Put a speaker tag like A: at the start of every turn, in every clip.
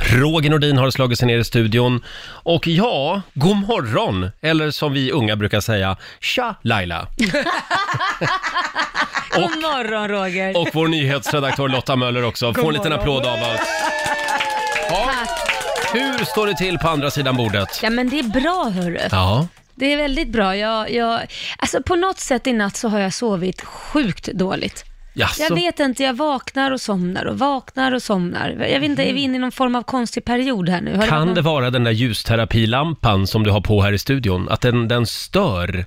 A: Roger Nordin har slagit sig ner i studion. Och ja, god morgon! Eller som vi unga brukar säga, tja Laila!
B: God morgon Roger.
A: Och vår nyhetsredaktör Lotta Möller också. Får en liten
B: morgon.
A: applåd av oss. Ja. Hur står det till på andra sidan bordet?
B: Ja men det är bra hörru.
A: Ja.
B: Det är väldigt bra. Jag, jag, alltså på något sätt i natt så har jag sovit sjukt dåligt.
A: Jaså?
B: Jag vet inte, jag vaknar och somnar och vaknar och somnar. Jag vet inte, är vi inne i någon form av konstig period här nu? Har
A: Kan det
B: varit någon-
A: vara den där ljusterapilampan som du har på här i studion? Att den, den stör?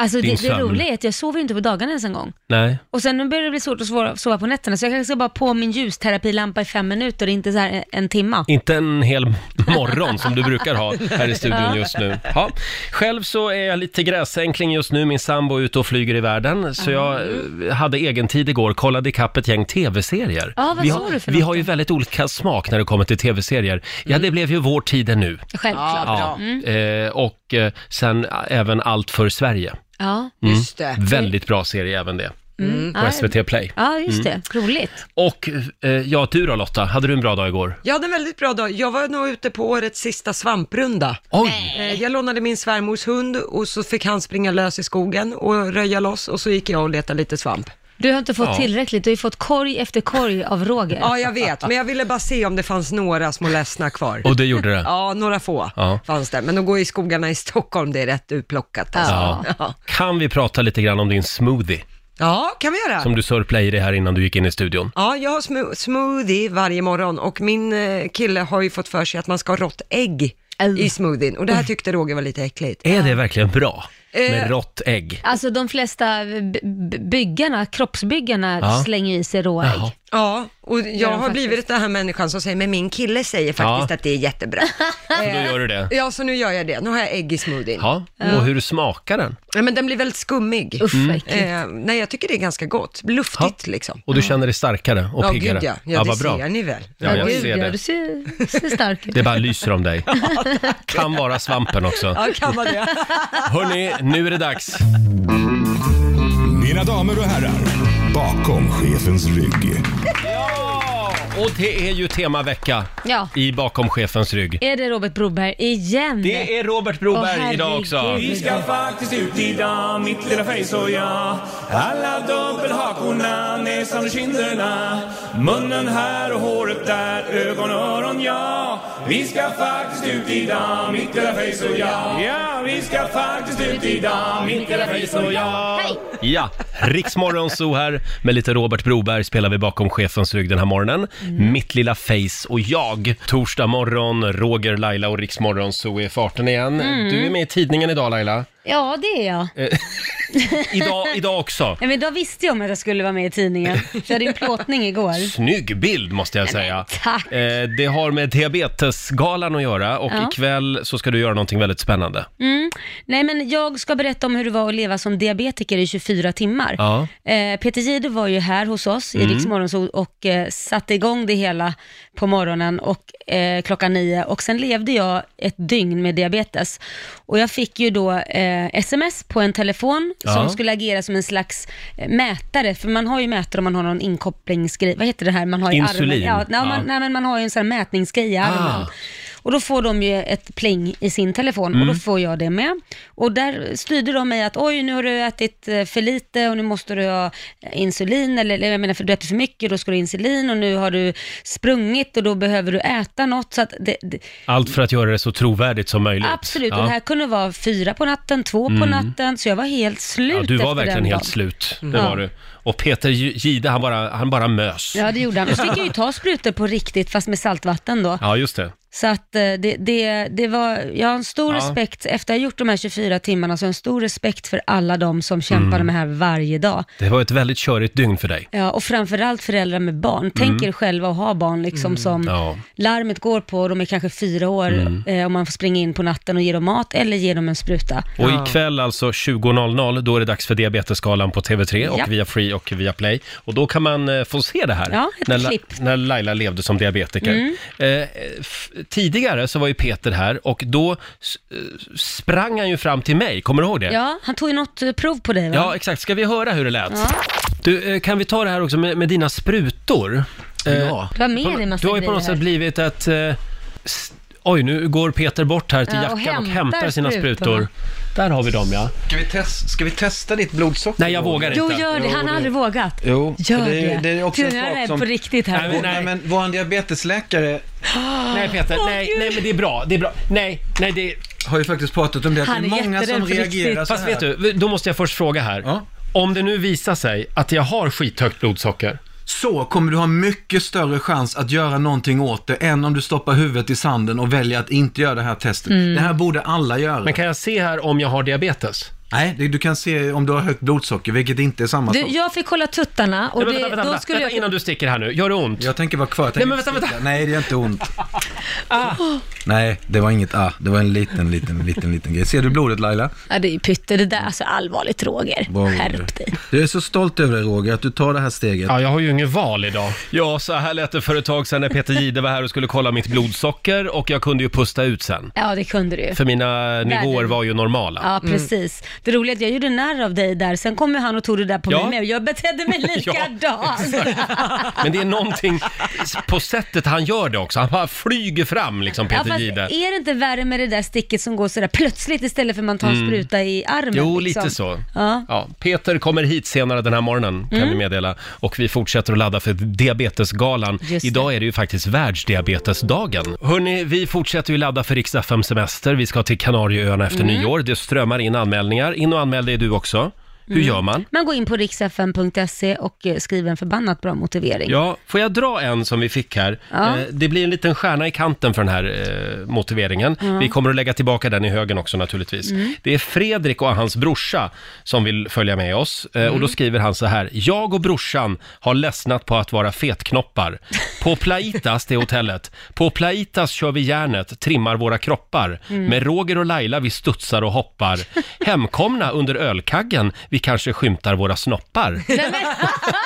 B: Alltså
A: din
B: det, det
A: sömn?
B: roliga är att jag sover ju inte på dagarna ens en gång.
A: Nej.
B: Och sen nu börjar det bli svårt att sova, sova på nätterna, så jag kanske ska bara på min ljusterapilampa i fem minuter, inte så här en, en timma.
A: Inte en hel morgon som du brukar ha här i studion
B: Ja.
A: just nu. Ja. Själv så är jag lite gräsänkling just nu. Min sambo är ute och flyger i världen. Så jag
B: Ah.
A: eh, hade egen tid igår, kollade ikapp ett gäng tv-serier.
B: Ja, vad
A: vi
B: såg
A: har,
B: du
A: vi
B: för något Mm.
A: har ju väldigt olika smak när det kommer till tv-serier. Ja, det blev ju Vår tid är nu.
B: Självklart. Mm.
A: Ja, eh, och eh, sen eh, även Allt för Sverige.
B: Ja.
A: Mm.
C: Just det.
A: Väldigt bra serie även det.
B: Mm.
A: På SVT Play.
B: Ja, just
A: Mm.
B: det. Roligt.
A: Och eh, ja, du då Lotta, hade du en bra dag igår?
C: Jag hade en väldigt bra dag. Jag var nog ute på årets sista svamprunda.
A: Oj!
C: Eh, Jag lånade min svärmors hund och så fick han springa lös i skogen och röja loss och så gick jag och letade lite svamp.
B: Du har inte fått
A: Ja.
B: tillräckligt, du har ju fått korg efter korg av Roger.
C: Ja, jag vet, men jag ville bara se om det fanns några små ledsna kvar.
A: Och det gjorde det?
C: Ja, några få
A: Ja.
C: fanns det. Men att gå i skogarna i Stockholm, det är rätt utplockat. Alltså.
A: Ja.
C: Ja.
A: Kan vi prata lite grann om din smoothie
C: ja, kan vi göra.
A: som du sörplade i det här innan du gick in i studion?
C: Ja, jag har smo- smoothie varje morgon och min eh, kille har ju fått för sig att man ska ha rått ägg
B: Ugh.
C: i smoothien och det här tyckte Roger var lite äckligt.
A: Är det verkligen bra med
C: Eh,
A: rått ägg?
B: Alltså de flesta b- b- byggarna, kroppsbyggarna
A: Ja.
B: slänger i sig råa ägg.
A: Jaha.
C: Ja, och jag
B: de
C: har
B: faktiskt.
C: blivit den här människan som säger, men min kille säger faktiskt
A: Ja.
C: att det är jättebra.
A: Så då gör du det?
C: Ja, så nu gör jag det. Nu har jag ägg i smoothien.
A: Ja. Och hur smakar den?
C: Ja, men den blir väldigt skummig.
B: Usch vad äckligt.
C: Eh, nej, jag tycker det är ganska gott. Luftigt liksom.
A: Och du känner dig starkare och
C: Ja,
A: piggare?
C: gud ja. Ja, det
A: vad bra.
C: ser ni väl.
A: Ja, jag
B: Gud,
A: ser
B: ja,
A: det.
B: Du ser, ser stark ut.
A: Det bara lyser om dig. Kan vara svampen också.
C: Ja, kan man det.
A: Hörni, nu är det dags.
D: Mina damer och herrar, bakom chefens rygg.
A: Och det är ju temavecka
B: Ja.
A: i Bakom chefens rygg.
B: Är det Robert Broberg igen?
A: Det är Robert
B: Åh,
A: Broberg
B: herregud.
A: idag också.
E: Vi ska faktiskt ut idag, mitt lilla face och jag Alla dubbelhakorna, näsan och kinderna Munnen här och håret där, ögon och öron ja Vi ska faktiskt ut idag, mitt lilla face och jag Ja, vi ska faktiskt ut idag, mitt lilla face och jag
B: Hej!
A: Ja, Riksmorgon Zoo här med lite Robert Broberg spelar vi bakom chefens rygg den här morgonen.
B: Mm.
A: Mitt lilla face och jag. Torsdag morgon, Roger, Laila och Riksmorgon Zoo är i farten igen.
B: Mm.
A: Du är med i tidningen idag Laila. Eh,
B: Ja, det är jag.
A: Idag, idag också.
B: Nej, Men då visste jag om att jag skulle vara med i tidningen. Jag hade en plåtning igår.
A: Snygg bild måste jag säga.
B: tack.
A: Eh, det har med diabetesgalan att göra och
B: Ja.
A: ikväll så ska du göra någonting väldigt spännande.
B: Mm. Nej, men jag ska berätta om hur det var att leva som diabetiker i 24 timmar.
A: Ja.
B: Eh, Peter Jihde var ju här hos oss
A: Mm.
B: i Rix Morgonzoo och eh, satte igång det hela på morgonen och eh, klockan nio och sen levde jag ett dygn med diabetes. Och jag fick ju då eh, sms på en telefon
A: Ja.
B: som skulle agera som en slags eh, mätare, för man har ju mätare om man har någon inkopplingsgrej, vad heter det här man har i armen?
A: Insulin.
B: Ja, nej,
A: Ja.
B: Man, nej, men man har ju en sån här mätningsgrej i armen.
A: Ah.
B: Och då får de ju ett pling i sin telefon och
A: Mm.
B: då får jag det med. Och där styrde de mig att oj, nu har du ätit eh, för lite och nu måste du ha eh, insulin, eller eller jag menar för du äter för mycket, då ska du ha insulin och nu har du sprungit och då behöver du äta något. Så att det, det,
A: Allt för att göra det så trovärdigt som möjligt.
B: absolut,
A: Ja. Mm.
B: och det här kunde vara fyra på natten, två på natten, så jag var helt slut
A: Ja, du var
B: efter
A: verkligen
B: den
A: helt
B: dagen.
A: slut, det
B: Ja.
A: var du. Och Peter Gide, han bara, han bara mös.
B: Ja, det gjorde han. Och så fick jag ju ta sprutor på riktigt, fast med saltvatten då.
A: Ja, just det.
B: Så att eh, det, det, det var, jag har en stor
A: Ja.
B: respekt, efter att ha gjort de här 24 timmarna, så har jag en stor respekt för alla de som
A: Mm.
B: kämpar med det här varje dag.
A: Det var ett väldigt körigt dygn för dig.
B: Ja, och framförallt föräldrar med barn. Tänk er själva att ha barn liksom som
A: Mm. Ja. Mm.
B: larmet går på, och de är kanske fyra år, eh, om man får springa in på natten och ge dem mat eller ge dem en spruta.
A: Och ikväll alltså 20.00, då är det dags för Diabetesgalan på TV3 och
B: Ja.
A: via Free och via Play. Och då kan man eh, få se det här,
B: Ja, ett
A: när,
B: klipp. Mm.
A: när Laila levde som diabetiker. Eh, f- tidigare så var ju Peter här och då s- eh, sprang han ju fram till mig, kommer du ihåg det?
B: Ja, han tog ju något eh, prov på dig va?
A: Ja, exakt. Ska vi höra hur det lät? Du, eh, kan vi ta det här också med, med dina sprutor? Eh,
B: Du har med dig en massa
A: Du har ju på
B: grejer
A: något
B: här.
A: sätt blivit ett eh, S- Oj, nu går Peter bort här till
B: Ja,
A: jackan
B: och
A: och hämtar,
B: hämtar
A: sina sprutor.
B: sprutorna.
A: Där har vi dem ja.
F: Ska vi, test, ska vi testa ditt blodsocker?
A: Nej, jag vågar inte.
B: Jo, gör det. Han har aldrig vågat.
F: Jo,
B: Gör
F: för
B: det.
F: det är- det är också
B: Gud,
F: en
B: jag är
F: sak
B: rädd
F: som-
B: på riktigt här.
A: Nej,
F: Nej, nej, men vår diabetesläkare
A: Nej Peter,
B: Åh,
A: nej,
B: Gud.
A: nej men det är bra. Det är bra. Nej, nej det är...
F: har ju faktiskt pratat om det, att
B: Han
F: det
B: är
F: är många
B: jätterädd
F: som
B: på riktigt.
F: reagerar så här.
A: Fast vet du, då måste jag först fråga här.
F: Ja.
A: Om det nu visar sig att jag har skithögt blodsocker,
F: Så kommer du ha mycket större chans att göra någonting åt det än om du stoppar huvudet i sanden och väljer att inte göra det här testet.
B: Mm.
F: Det här borde alla göra.
A: men kan jag se här om jag har diabetes?
F: Nej, det- du kan se om du har högt blodsocker, vilket inte är samma
B: Du,
F: sak.
B: jag fick kolla tuttarna och
A: nej,
B: det,
A: vänta, vänta,
B: då
A: vänta,
B: skulle
A: vänta innan
B: jag...
A: du sticker här nu. Gör det ont?
F: Jag tänker vara kvar. Jag tänker
A: Nej, men
F: inte
A: vänta,
F: sticka. Nej, det är inte ont.
A: Ah.
F: Nej, det var inget ah. Det var en liten, liten, liten, liten grej. Ser du blodet Laila?
B: Ja, det är ju pytte. Det där, alltså allvarligt Roger.
F: Bra, Roger.
B: Skärp dig.
F: Jag är så stolt över dig Roger, att du tar det här steget.
A: Ja, jag har ju inget val idag. Ja, så här lät det för ett tag sedan när Peter Jihde var här och skulle kolla mitt blodsocker och jag kunde ju pusta ut sen.
B: Ja, det kunde du ju.
A: För mina nivåer var ju normala.
B: Ja, precis. Det roliga är att jag gjorde narr av dig där, sen kom ju han och tog det där på
A: Ja.
B: mig med och jag betedde mig likadant.
A: Mm. Men det är någonting på sättet han gör det också. Han bara flyger fram liksom,
B: Ja,
A: Peter
B: fast
A: Jihde.
B: är det inte värre med det där sticket som går sådär plötsligt istället för att man tar en spruta i armen?
A: Mm. Jo,
B: liksom?
A: lite så.
B: Ja. Mm.
A: Ja, Peter kommer hit senare den här morgonen, kan vi meddela. Och vi fortsätter att ladda för Diabetesgalan.
B: Just det.
A: Idag är det ju faktiskt världsdiabetesdagen. Hörni, vi fortsätter ju ladda för riks FM semester. Vi ska till Kanarieöarna efter
B: Mm.
A: nyår. Det strömmar in anmälningar. In och anmäl dig du också. Hur
B: Mm.
A: gör man?
B: Man går in på riksfn.se och eh, skriver en förbannat bra motivering.
A: Ja, får jag dra en som vi fick här?
B: Ja.
A: Eh, Det blir en liten stjärna i kanten för den här eh, motiveringen. Vi kommer att lägga tillbaka den i högen också naturligtvis. Det är Fredrik och hans brorsa som vill följa med oss. Eh, Och då skriver han så här. Jag och brorsan har ledsnat på att vara fetknoppar. På Plaitas, det är hotellet, på Plaitas kör vi järnet, trimmar våra kroppar. Med Roger och Laila vi studsar och hoppar. Hemkomna under ölkaggen, vi kanske skymtar våra snoppar.
B: Nej, men...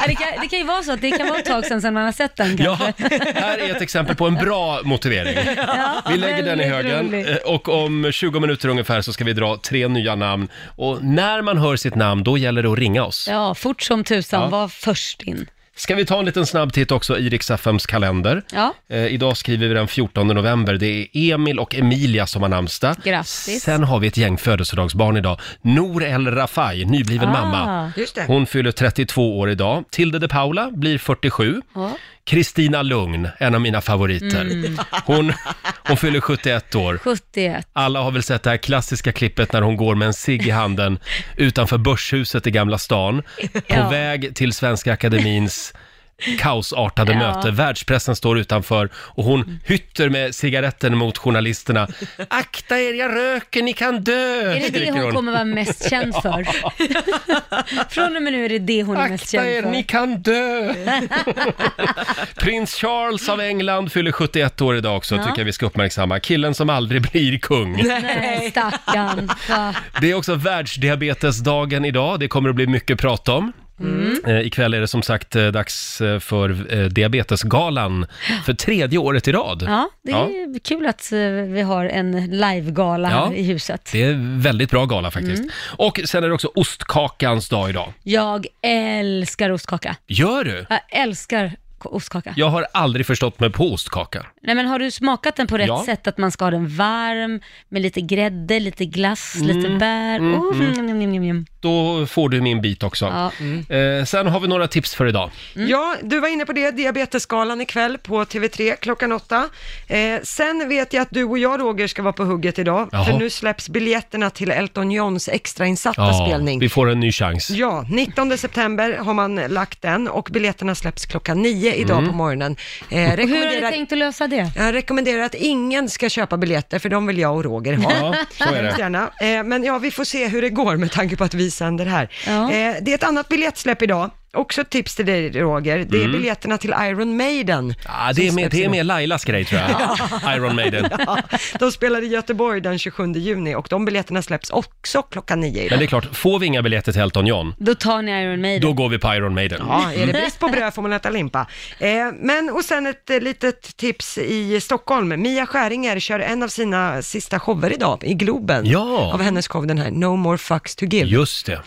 B: Ja, det, kan, det kan ju vara så att det kan vara ett tag sedan, sedan man har sett den
A: Ja,
B: kanske.
A: här är ett exempel på en bra motivering.
B: Ja,
A: Vi lägger den i
B: väldigt
A: högen
B: rolig.
A: eh, och om 20 minuter ungefär så ska vi dra tre nya namn. Och när man hör sitt namn, då gäller det att ringa oss.
B: Ja, fort som tusan, var först in.
A: Ska vi ta en liten snabb titt också i Rix FMs kalender?
B: Ja.
A: Eh, idag skriver vi den 14 november. Det är Emil och Emilia som har namnsdag.
B: Grattis.
A: Sen har vi ett gäng födelsedagsbarn idag. Nour El Rafai,
B: Ah.
A: nybliven mamma.
C: Just det.
A: Hon fyller 32 år idag. Tilde de Paula blir 47.
B: Ja.
A: Kristina Lugn, en av mina favoriter.
B: Mm.
A: Hon, hon fyller 71 år.
B: 71.
A: Alla har väl sett det här klassiska klippet när hon går med en cigg i handen utanför Börshuset i Gamla stan på
B: Ja.
A: väg till Svenska Akademins kaosartade
B: Ja.
A: möte. Världspressen står utanför och hon hytter med cigaretten mot journalisterna. Akta er, jag röker, ni kan dö!
B: Är det det
A: skriker
B: hon kommer vara mest känd för? Från och med nu är det det hon är mest
A: Akta
B: känd
A: er,
B: för.
A: ni kan dö! Prins Charles av England fyller 71 år idag också, tycker jag vi ska uppmärksamma. Killen som aldrig blir kung.
B: Nej, stackarn. Ja.
A: Det är också världsdiabetesdagen idag. Det kommer att bli mycket prat om.
B: Mm.
A: Eh, ikväll är det som sagt eh, dags eh, för eh, Diabetesgalan för tredje året i rad.
B: ja, det
A: Ja.
B: är kul att eh, vi har en livegala
A: Ja.
B: här i huset.
A: Det är en väldigt bra gala faktiskt.
B: Mm.
A: Och sen är det också ostkakans dag idag.
B: Jag älskar ostkaka.
A: Gör du?
B: Jag älskar k- ostkaka.
A: Jag har aldrig förstått mig på ostkaka.
B: Nej, men har du smakat den på rätt
A: Ja.
B: sätt? Att man ska ha den varm, med lite grädde, lite glass, lite bär. Oh, mm, mm, mm.
A: Då får du min bit också.
B: Ja.
C: Mm.
A: Eh, sen har vi några tips för idag.
C: Ja, du var inne på det, Diabetesgalan ikväll på TV3 klockan åtta. Eh, sen vet jag att du och jag Roger ska vara på hugget idag,
A: Jaha.
C: för nu släpps biljetterna till Elton Johns extrainsatta spelning.
A: vi får en ny chans.
C: Ja, 19 september har man lagt den och biljetterna släpps klockan nio idag
A: Mm.
C: på morgonen. Eh,
B: Och hur har du
C: rekommenderar,
B: tänkt att lösa det?
C: jag rekommenderar att ingen ska köpa biljetter, för de vill jag och Roger ha.
A: Ja, så är
C: Hemskt
A: det.
C: gärna. Eh, Men ja, vi får se hur det går med tanke på att vi sänder här.
B: Ja.
C: Eh, Det är ett annat biljettsläpp idag. Också ett tips till dig Roger. Det är biljetterna till Iron Maiden.
A: Mm. Ja, Ah, det, är
C: som
A: mer,
C: släpps
A: det är
C: idag.
A: mer Lailas grej tror jag. Iron Maiden.
C: Ja, de spelar i Göteborg den 27 juni och de biljetterna släpps också klockan nio
A: Men
C: idag.
A: det är klart, får vi inga biljetter till Elton John,
B: Då tar ni Iron Maiden.
A: då går vi på Iron Maiden. Mm.
C: Ja, är det brist på bröd får man äta limpa. Eh, men och sen ett eh, litet tips i Stockholm. Mia Skäringer kör en av sina sista shower idag i Globen.
A: Ja.
C: Av hennes show den här No More Fucks To Give.
A: Just det.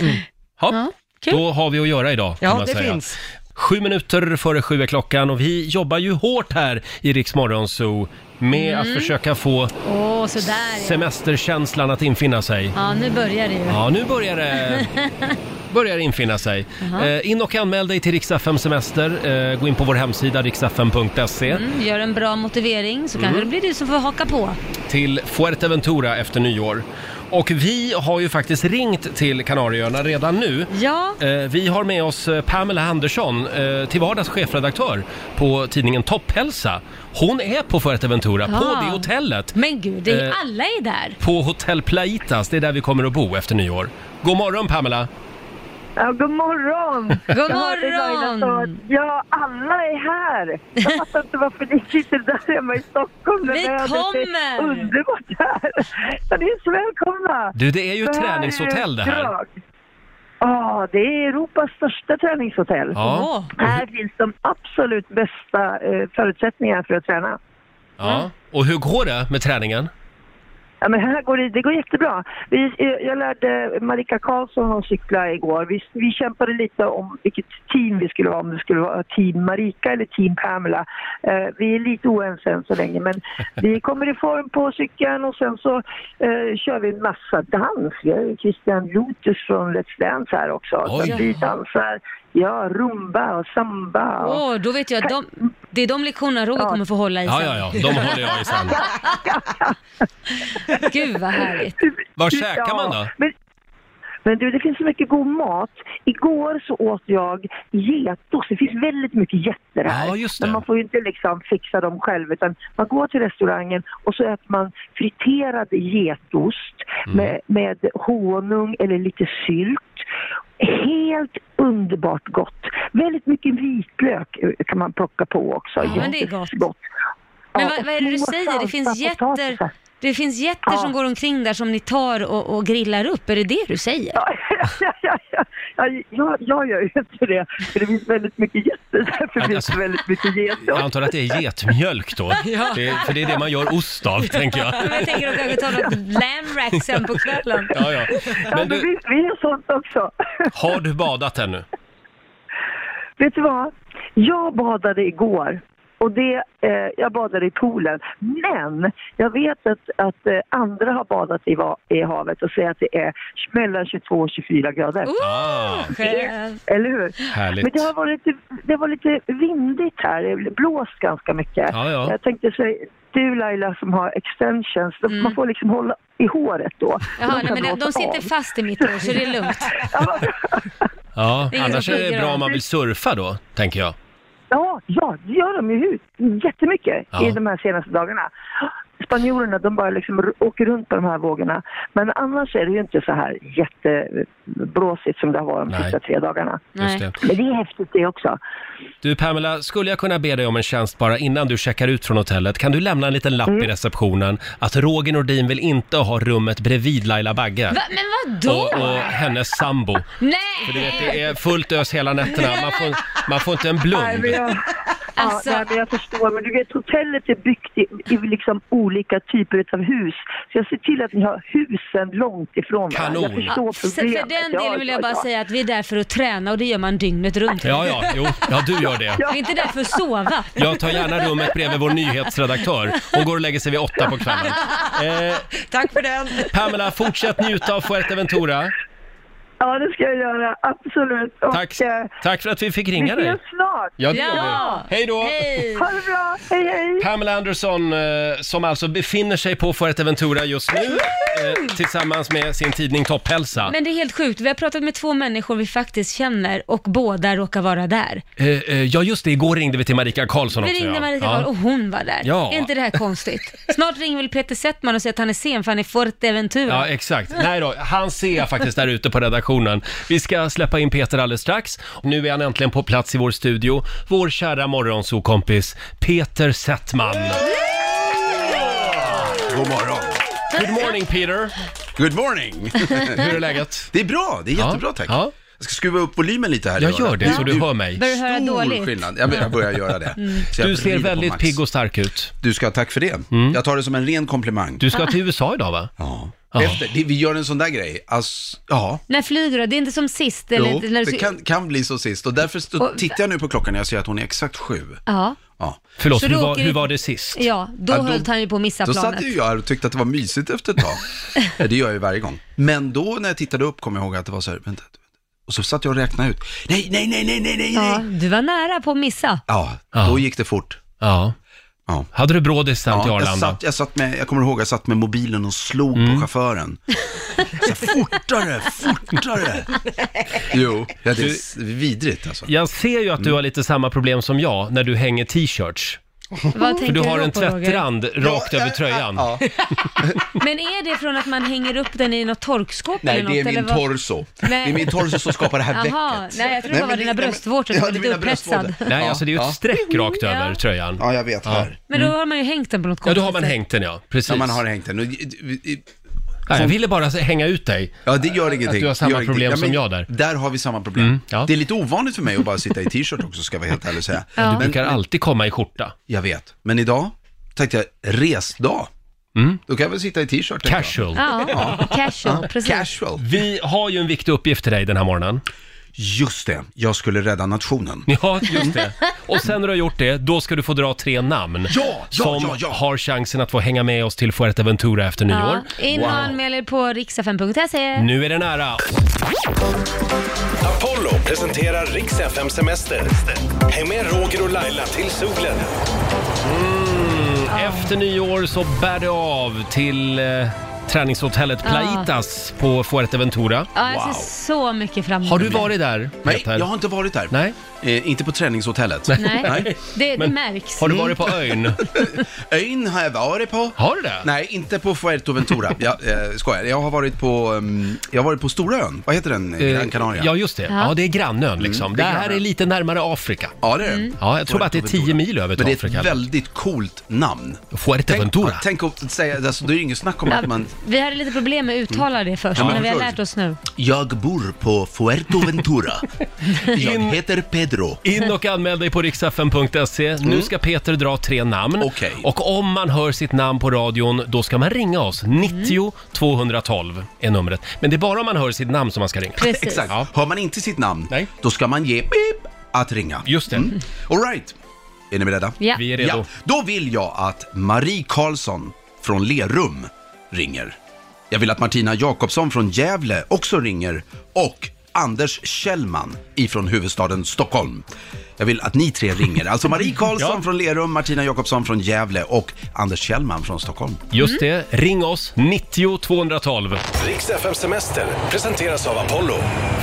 A: Ja,
B: Ja, kul.
A: då har vi att göra idag. kan
C: Mm. Ja,
A: man
C: det
A: säga.
C: finns.
A: Sju minuter före sju är klockan och vi jobbar ju hårt här i Rix Morgon Zoo med att
C: Mm.
A: försöka få
B: Åh, sådär ja.
A: semesterkänslan att infinna sig.
B: ja. nu börjar det ju.
A: Ja, nu börjar det börjar det infinna sig. Eh, in och anmäl dig till Rix FM Semester. Eh, gå in på vår hemsida riksfm.se
G: Mm, Gör en bra motivering så kanske det
A: Mm.
G: blir du som får haka på.
A: till Fuerteventura efter nyår. Och vi har ju faktiskt ringt till Kanarieöarna redan nu.
C: Mm.
G: Ja,
A: Eh, Vi har med oss eh, Pamela Andersson, eh, till vardags chefredaktör på tidningen Topphälsa. Hon är på Fuerteventura, på
B: Ja.
A: det hotellet.
B: Men gud, det är,
A: Eh.
B: alla är där.
A: På Hotel Plaitas, det är där vi kommer att bo efter nyår. God morgon Pamela!
H: Ja, god morgon!
B: God
H: Jag hörde Laila sa
B: morgon!
H: att, Ja, alla är här. Jag fattar inte varför ni sitter där hemma i Stockholm. när
B: Vi
H: vädret
B: kommer!
H: är underbart här. Så ni är så välkomna!
A: Du, det är ju ett
H: här är
A: träningshotell det här.
H: drag. Ja, det är Europas största träningshotell.
A: Ja,
B: Åh.
H: Här finns de absolut bästa eh, förutsättningarna för att träna.
A: ja. Och hur går det med träningen?
H: Ja, men här går det, det går jättebra. Vi, eh, jag lärde Marika Karlsson att cykla igår. Vi, vi kämpade lite om vilket team vi skulle vara, om det skulle vara team Marika eller team Pamela. Eh, vi är lite oense än så länge, men vi kommer i form på cykeln och sen så eh, kör vi en massa dans. Vi har ju Christian Lotus från Let's Dance här också.
A: Oj.
H: Så vi dansar ja, rumba och samba. Och,
G: Åh, då vet jag. att De, det är de lektionerna Roger kommer få hålla i
A: Ja,
G: sen.
A: ja, ja, de håller jag i sen.
G: Gud vad härligt.
A: Vad käkar man då?
H: Men, men du, det finns så mycket god mat. Igår så åt jag getost. Det finns väldigt mycket getter här.
A: Ja, just det.
H: Men man får ju inte liksom fixa dem själv utan man går till restaurangen och så äter man friterad getost
A: Mm.
H: med, med honung eller lite sylt. Helt underbart gott. Väldigt mycket vitlök eh, kan man plocka på också.
G: Ja, men det är gott.
H: Jättegott.
G: Men
H: Ja,
G: vad,
H: och
G: vad är det du
H: små
G: säger? Det finns
H: salta
G: jätter,
H: potatisar.
G: det finns jätter
H: Ja.
G: som går omkring där som ni tar och, och grillar upp. Är det det du säger?
H: Ja, ja, ja, ja, ja, jag, jag gör ju inte det, för det finns väldigt mycket getter. Därför finns det väldigt mycket
A: Jag
H: getter.
A: antar att det är getmjölk då, det, för det är det man gör ost av, tänker jag.
G: Men jag tänker att kanske ta något lamb sen på kvällen.
A: Ja, ja.
H: Ja,
A: Men
H: men
A: du,
H: vi, vi är sånt också.
A: har du badat ännu?
H: Vet du vad? Jag badade igår. Och det, eh, jag badade i poolen. Men jag vet att, att eh, andra har badat i, va, i havet och säger att det är mellan 22 och 24 grader.
G: Oh.
A: Ah,
G: Skönt.
H: Eller hur? Men
A: härligt.
H: det har varit lite, det var lite vindigt här. Det blåst ganska mycket.
A: Ja, ja.
H: Jag tänkte så du Laila som har extensions, då- man får liksom hålla i håret då.
G: Jaha,
H: kan
G: nej, Mm. men de, de
H: blåsa
G: sitter
H: av.
G: fast i mitt hår så det är lugnt.
A: Ja,
G: Det är ingen
A: annars
G: som
A: är det
G: flyger
A: bra
G: av.
A: om man vill surfa då, tänker jag.
H: Ja, ja, det gör de ju ut jättemycket
A: Ja.
H: i de här senaste dagarna. Spanjorerna, de bara liksom r- åker runt på de här vågorna. Men annars är det ju inte så här jätteblåsigt som det har varit de
A: Nej.
H: sista tre dagarna.
A: Just
G: Nej.
A: det.
H: Men det är häftigt det också.
A: Du Pamela, skulle jag kunna be dig om en tjänst bara innan du checkar ut från hotellet? Kan du lämna en liten lapp
H: Mm.
A: i receptionen att Roger Nordin vill inte ha rummet bredvid Laila Bagge?
B: Va, men vadå?
A: Och, och hennes sambo. För du
B: Nej!
A: vet, det är fullt ös hela nätterna. Man får, man får inte en blund.
H: men jag,
B: Alltså-
H: ja, nej, men jag förstår, men du vet hotellet är byggt i, i liksom olika typer av hus. Så jag ser till att ni har husen långt ifrån varandra.
A: Kanon.
H: Jag förstår
G: Så för
H: problemet.
G: den
H: Ja,
G: delen vill
H: ja,
G: jag bara
H: ja.
G: säga att vi är där för att träna och det gör man dygnet runt.
A: Ja, ja, jo, ja, du gör det.
G: Vi är inte där för att sova.
A: Jag tar gärna rummet bredvid vår nyhetsredaktör. Hon går och lägger sig vid åtta på kvällen. Eh,
C: Tack för den!
A: Pamela, fortsätt njuta av Fuerteventura.
H: Ja, det ska jag göra. Absolut. Och,
A: Tack,
H: eh,
A: tack för att vi fick
H: vi
A: ringa dig.
H: ses snart.
A: Ja, det
B: Ja.
A: gör vi. Hej då!
B: Hej!
H: Ha det bra. Hej, hej.
A: Pamela Andersson, eh, som alltså befinner sig på Fuerteventura just nu, eh, tillsammans med sin tidning Topphälsa.
G: Men det är helt sjukt, vi har pratat med två människor vi faktiskt känner och båda råkar vara där.
A: Eh, eh, ja, just det, igår ringde vi till Marika Karlsson
G: Vi
A: också.
G: ringde
A: ja.
G: Marika Oh,
A: Ja.
G: Karl och hon var där.
A: Ja.
G: Är inte det här konstigt? Snart ringer väl Peter Settman och säger att han är sen för han är i
A: Ja,
G: Fuerteventura.
A: exakt. Nej då, han ser jag faktiskt där ute på redaktionen. Vi ska släppa in Peter alldeles strax. Nu är han äntligen på plats i vår studio. Vår kära morgonsokompis Peter Settman.
I: God morgon.
A: Good morning Peter!
I: Good morning.
A: Hur är läget?
I: Det är bra, det är jättebra tack.
A: Ja.
I: Jag ska skruva upp volymen lite här. i
A: Jag
I: öronen.
A: gör det så du hör mig.
B: Börjar du höra
I: Stor
B: dåligt?
I: skillnad. Jag, jag börjar göra det.
G: Mm.
I: Så jag
A: Du ser
I: vrider på
A: väldigt
I: max.
A: pigg och stark ut. Mm.
I: Du ska ha tack för det. Jag tar det som en ren komplimang.
A: Du ska till USA idag va?
I: Ja.
A: Ja.
I: Efter, det, vi gör en sån där grej. Alltså, ja.
G: När flyger du? Det är inte som sist? Eller,
I: Jo,
G: när du,
I: det kan, kan bli så sist. Och därför stå,
G: Och-
I: tittar jag nu på klockan när jag ser att hon är exakt sju.
G: Ja.
I: Ja.
A: Förlåt,
G: Så
A: hur
G: då
A: var,
G: åker
A: hur
G: vi-
A: var det sist?
G: ja, då
I: Ja, då-
G: höll han ju på att missa
I: Då
G: planet.
I: satt ju jag här och tyckte att det var mysigt efter ett tag. Ja, det gör jag ju varje gång. Men då när jag tittade upp kom jag ihåg att det var så här, vänta. Och så satt jag och räknade ut. Nej, nej, nej, nej, nej, nej,
G: Ja,
I: nej.
G: du var nära på att missa.
I: Ja,
A: Ja.
I: då gick det fort.
A: Ja.
I: Ja.
A: Hade du brådis sen till
I: Ja, jag,
A: Arlanda? Mm.
I: satt, jag, satt med, jag kommer ihåg, jag satt med mobilen och slog på chauffören. Så här, fortare, fortare! jo, ja, det är s- vidrigt alltså.
A: Jag ser ju att du har lite samma problem som jag när du hänger t-shirts.
G: Vad tänker
A: För du har
G: då
A: en
G: på, Roger?
A: tvättrand rakt över tröjan.
I: Ja,
G: Men är det från att man hänger upp den i något torkskåp
I: Nej,
G: eller något?
I: det är
G: eller
I: min
G: vad?
I: torso.
G: Nej.
I: Det är min torso som skapar det här
G: Jaha,
I: vecket.
G: nej, jag tror det var
I: men
G: dina
I: nej, men-
G: bröstvårtor som
I: Ja,
G: var
I: det är
G: lite
I: mina bröstvåror.
G: upphetsad.
A: Nej,
I: Ja,
A: alltså det är ju
I: ja.
A: ett streck rakt
G: Mm,
A: över
G: ja.
A: tröjan.
I: Ja, jag vet. Här.
G: Men då har man ju hängt den på något
A: Ja,
G: konstigt
A: då har man
G: sätt.
A: hängt den ja. Precis.
I: Ja, man har hängt den. Nu- i- i-
A: Nej, jag ville bara hänga ut dig.
I: Ja, det gör ingenting.
A: du har samma
I: Det gör ingenting.
A: problem
I: ja, men
A: som jag där.
I: Där har vi samma problem.
A: Mm, ja.
I: Det är lite ovanligt för mig att bara sitta i t-shirt också, ska jag vara helt ärlig och säga.
A: Du
I: Men,
A: brukar alltid komma i skjorta.
I: jag vet. Men idag tänkte jag, resdag.
A: Mm.
I: Då kan jag väl sitta i t-shirt. tänker jag.
A: Casual.
G: Ja, casual, precis.
I: Casual.
A: Vi har ju en viktig uppgift till dig den här morgonen.
I: Just det, jag skulle rädda nationen.
A: Ja, just det. Och sen när du har gjort det, då ska du få dra tre namn.
I: Ja, ja,
A: som
I: ja, ja.
A: har chansen att få hänga med oss till Fuerteventura efter nyår.
G: Ja, in och anmäl er på riksa5.se.
A: Nu är det nära.
J: Apollo presenterar Rix FM Semester. Häng med Roger och Laila till solen.
A: Mm, Efter nyår så bär det av till eh, träningshotellet Plaitas på Fuerteventura.
G: Ja, jag ser så mycket fram emot
A: Har du
G: det.
A: varit där,
I: Nej,
A: Peter?
I: jag har inte varit där.
A: Nej.
I: Eh, inte på träningshotellet. Mm.
G: Nej, det, det
A: Men-
G: märks.
A: Har du varit på ön?
I: Ön har jag varit på.
A: Har du det?
I: Nej, inte på Fuerteventura. jag eh, skojar. Jag har varit på, um, jag har varit på Stora ön. Vad heter den?
A: Eh,
I: Gran Canaria? Mm.
A: Ja, just det. Ja, det är grannön liksom.
I: det
A: det,
I: är
A: här
I: grannön.
A: är lite närmare Afrika.
I: Ja, det är det.
A: Ja, jag tror bara att det är 10 mil över
I: Men
A: till
I: det är
A: Afrika.
I: ett väldigt coolt namn. Tänk,
A: Fuerteventura.
I: tänk att säga, alltså, det är ju inget snack om att man,
G: Vi hade lite problem med att uttala det först,
I: Ja,
G: men
I: men
G: vi har
I: förstår.
G: lärt oss nu.
I: jag bor på Fuerteventura. jag heter Pedro.
A: In och anmäl dig på riksfn.se. Nu ska Peter dra tre namn.
I: Mm. Okej.
A: Och om man hör sitt namn på radion, då ska man ringa oss. 90 212 är numret. Men det är bara om man hör sitt namn som man ska ringa.
G: Precis.
I: Exakt.
A: Ja.
I: Hör man inte sitt namn,
A: Nej.
I: då ska man ge pip att ringa. Mm.
A: Just det.
I: All right. Är ni beredda?
G: Ja.
A: Vi är redo.
I: Då vill jag att Marie Karlsson från Lerum ringer. Jag vill att Martina Jakobsson från Gävle också ringer. Och Anders Kjellman ifrån huvudstaden Stockholm. Jag vill att ni tre ringer. Alltså Marie Karlsson
A: Ja.
I: från Lerum, Martina Jakobsson från Gävle och Anders Kjellman från Stockholm.
A: Just det. Ring oss, 90 212.
J: Rix FM Semester presenteras av Apollo.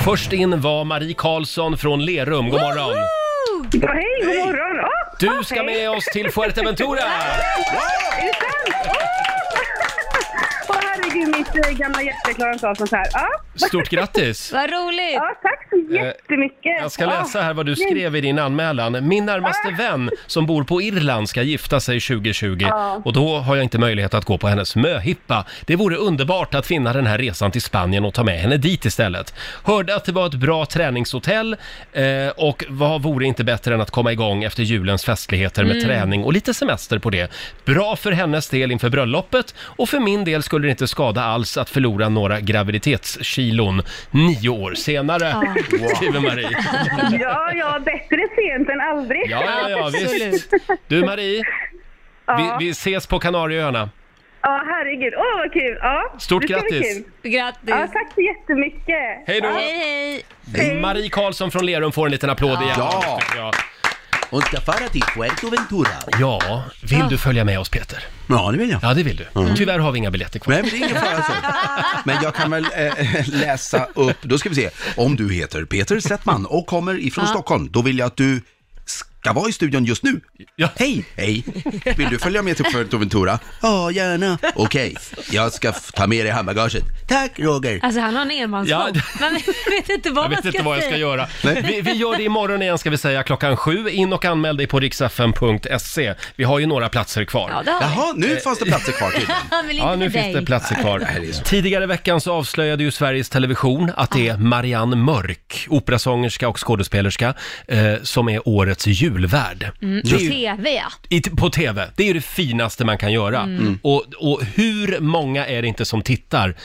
A: Först in var Marie Karlsson från Lerum. God morgon!
H: Ja, hej, god morgon! Oh,
A: Du ska med oss till Fuerteventura!
H: är det sant? Åh, Åh, herregud, mitt eh, gamla hjärta klarar inte av sånt här. Ja,
A: Stort grattis! Eh,
G: Vad roligt!
H: ja, tack så jättemycket! Ah,
A: Jag ska
H: Ja.
A: läsa här vad du skrev i din anmälan. Min närmaste vän som bor på Irland ska gifta sig 2020 och då har jag inte möjlighet att gå på hennes möhippa. Det vore underbart att finna den här resan till Spanien och ta med henne dit istället. Hörde att det var ett bra träningshotell eh, och vad vore inte bättre än att komma igång efter julens festligheter med träning och lite semester på det. Bra för hennes del inför bröllopet och för min del skulle det inte skada alls att förlora några graviditetskilon nio år senare, skriver Marie.
H: Ja, ja, bättre sent än aldrig.
A: Ja, ja, ja, visst.
G: Absolut.
A: Du Marie,
H: Ja,
A: vi, vi ses på Kanarieöarna.
H: ja herregud. Åh, vad kul! Ja,
A: Stort
H: det ska bli
A: grattis.
H: kul.
G: Grattis!
H: Ja, tack så jättemycket!
A: Hej då!
G: Hej, hej!
A: Marie Karlsson från Lerum får en liten applåd igen.
I: Ja.
A: tycker jag.
I: Hon ska fara till Fuerteventura.
A: ja, vill du följa med oss Peter?
I: Ja, det vill jag. Mm.
A: Ja, det vill du. Tyvärr har vi inga biljetter kvar.
I: Nej, men det är ingen fara så. Men jag kan väl eh, läsa upp, då ska vi se, om du heter Peter Settman och kommer ifrån Stockholm, då vill jag att du ska vara i studion just nu.
A: Ja.
I: Hej! Hej! Vill du följa med till Fuerteventura? Ja, gärna. Okej, jag ska f- ta med dig handbagaget. Tack Roger!
G: Alltså han har en enmansgång.
A: Ja.
G: Man vet inte vad
A: Jag vet
G: man ska
A: inte vad jag
G: säga.
A: ska göra. Vi, vi gör det imorgon igen ska vi säga, klockan sju. In och anmäl dig på riksfn.se. Vi har ju några platser kvar.
G: Ja, det har vi.
I: Jaha, nu fanns det platser kvar tydligen.
G: Han vill inte
A: Ja, nu
G: med dig.
A: finns det platser kvar.
I: det är så.
A: Tidigare i veckan så avslöjade ju Sveriges Television att det är Marianne Mörk, operasångerska och skådespelerska, eh, som är årets julvärd.
B: Mm,
A: Det är ju-
B: TV ja.
A: i, på TV, det är ju det finaste man kan göra.
B: Mm.
A: Och, och hur många är det inte som tittar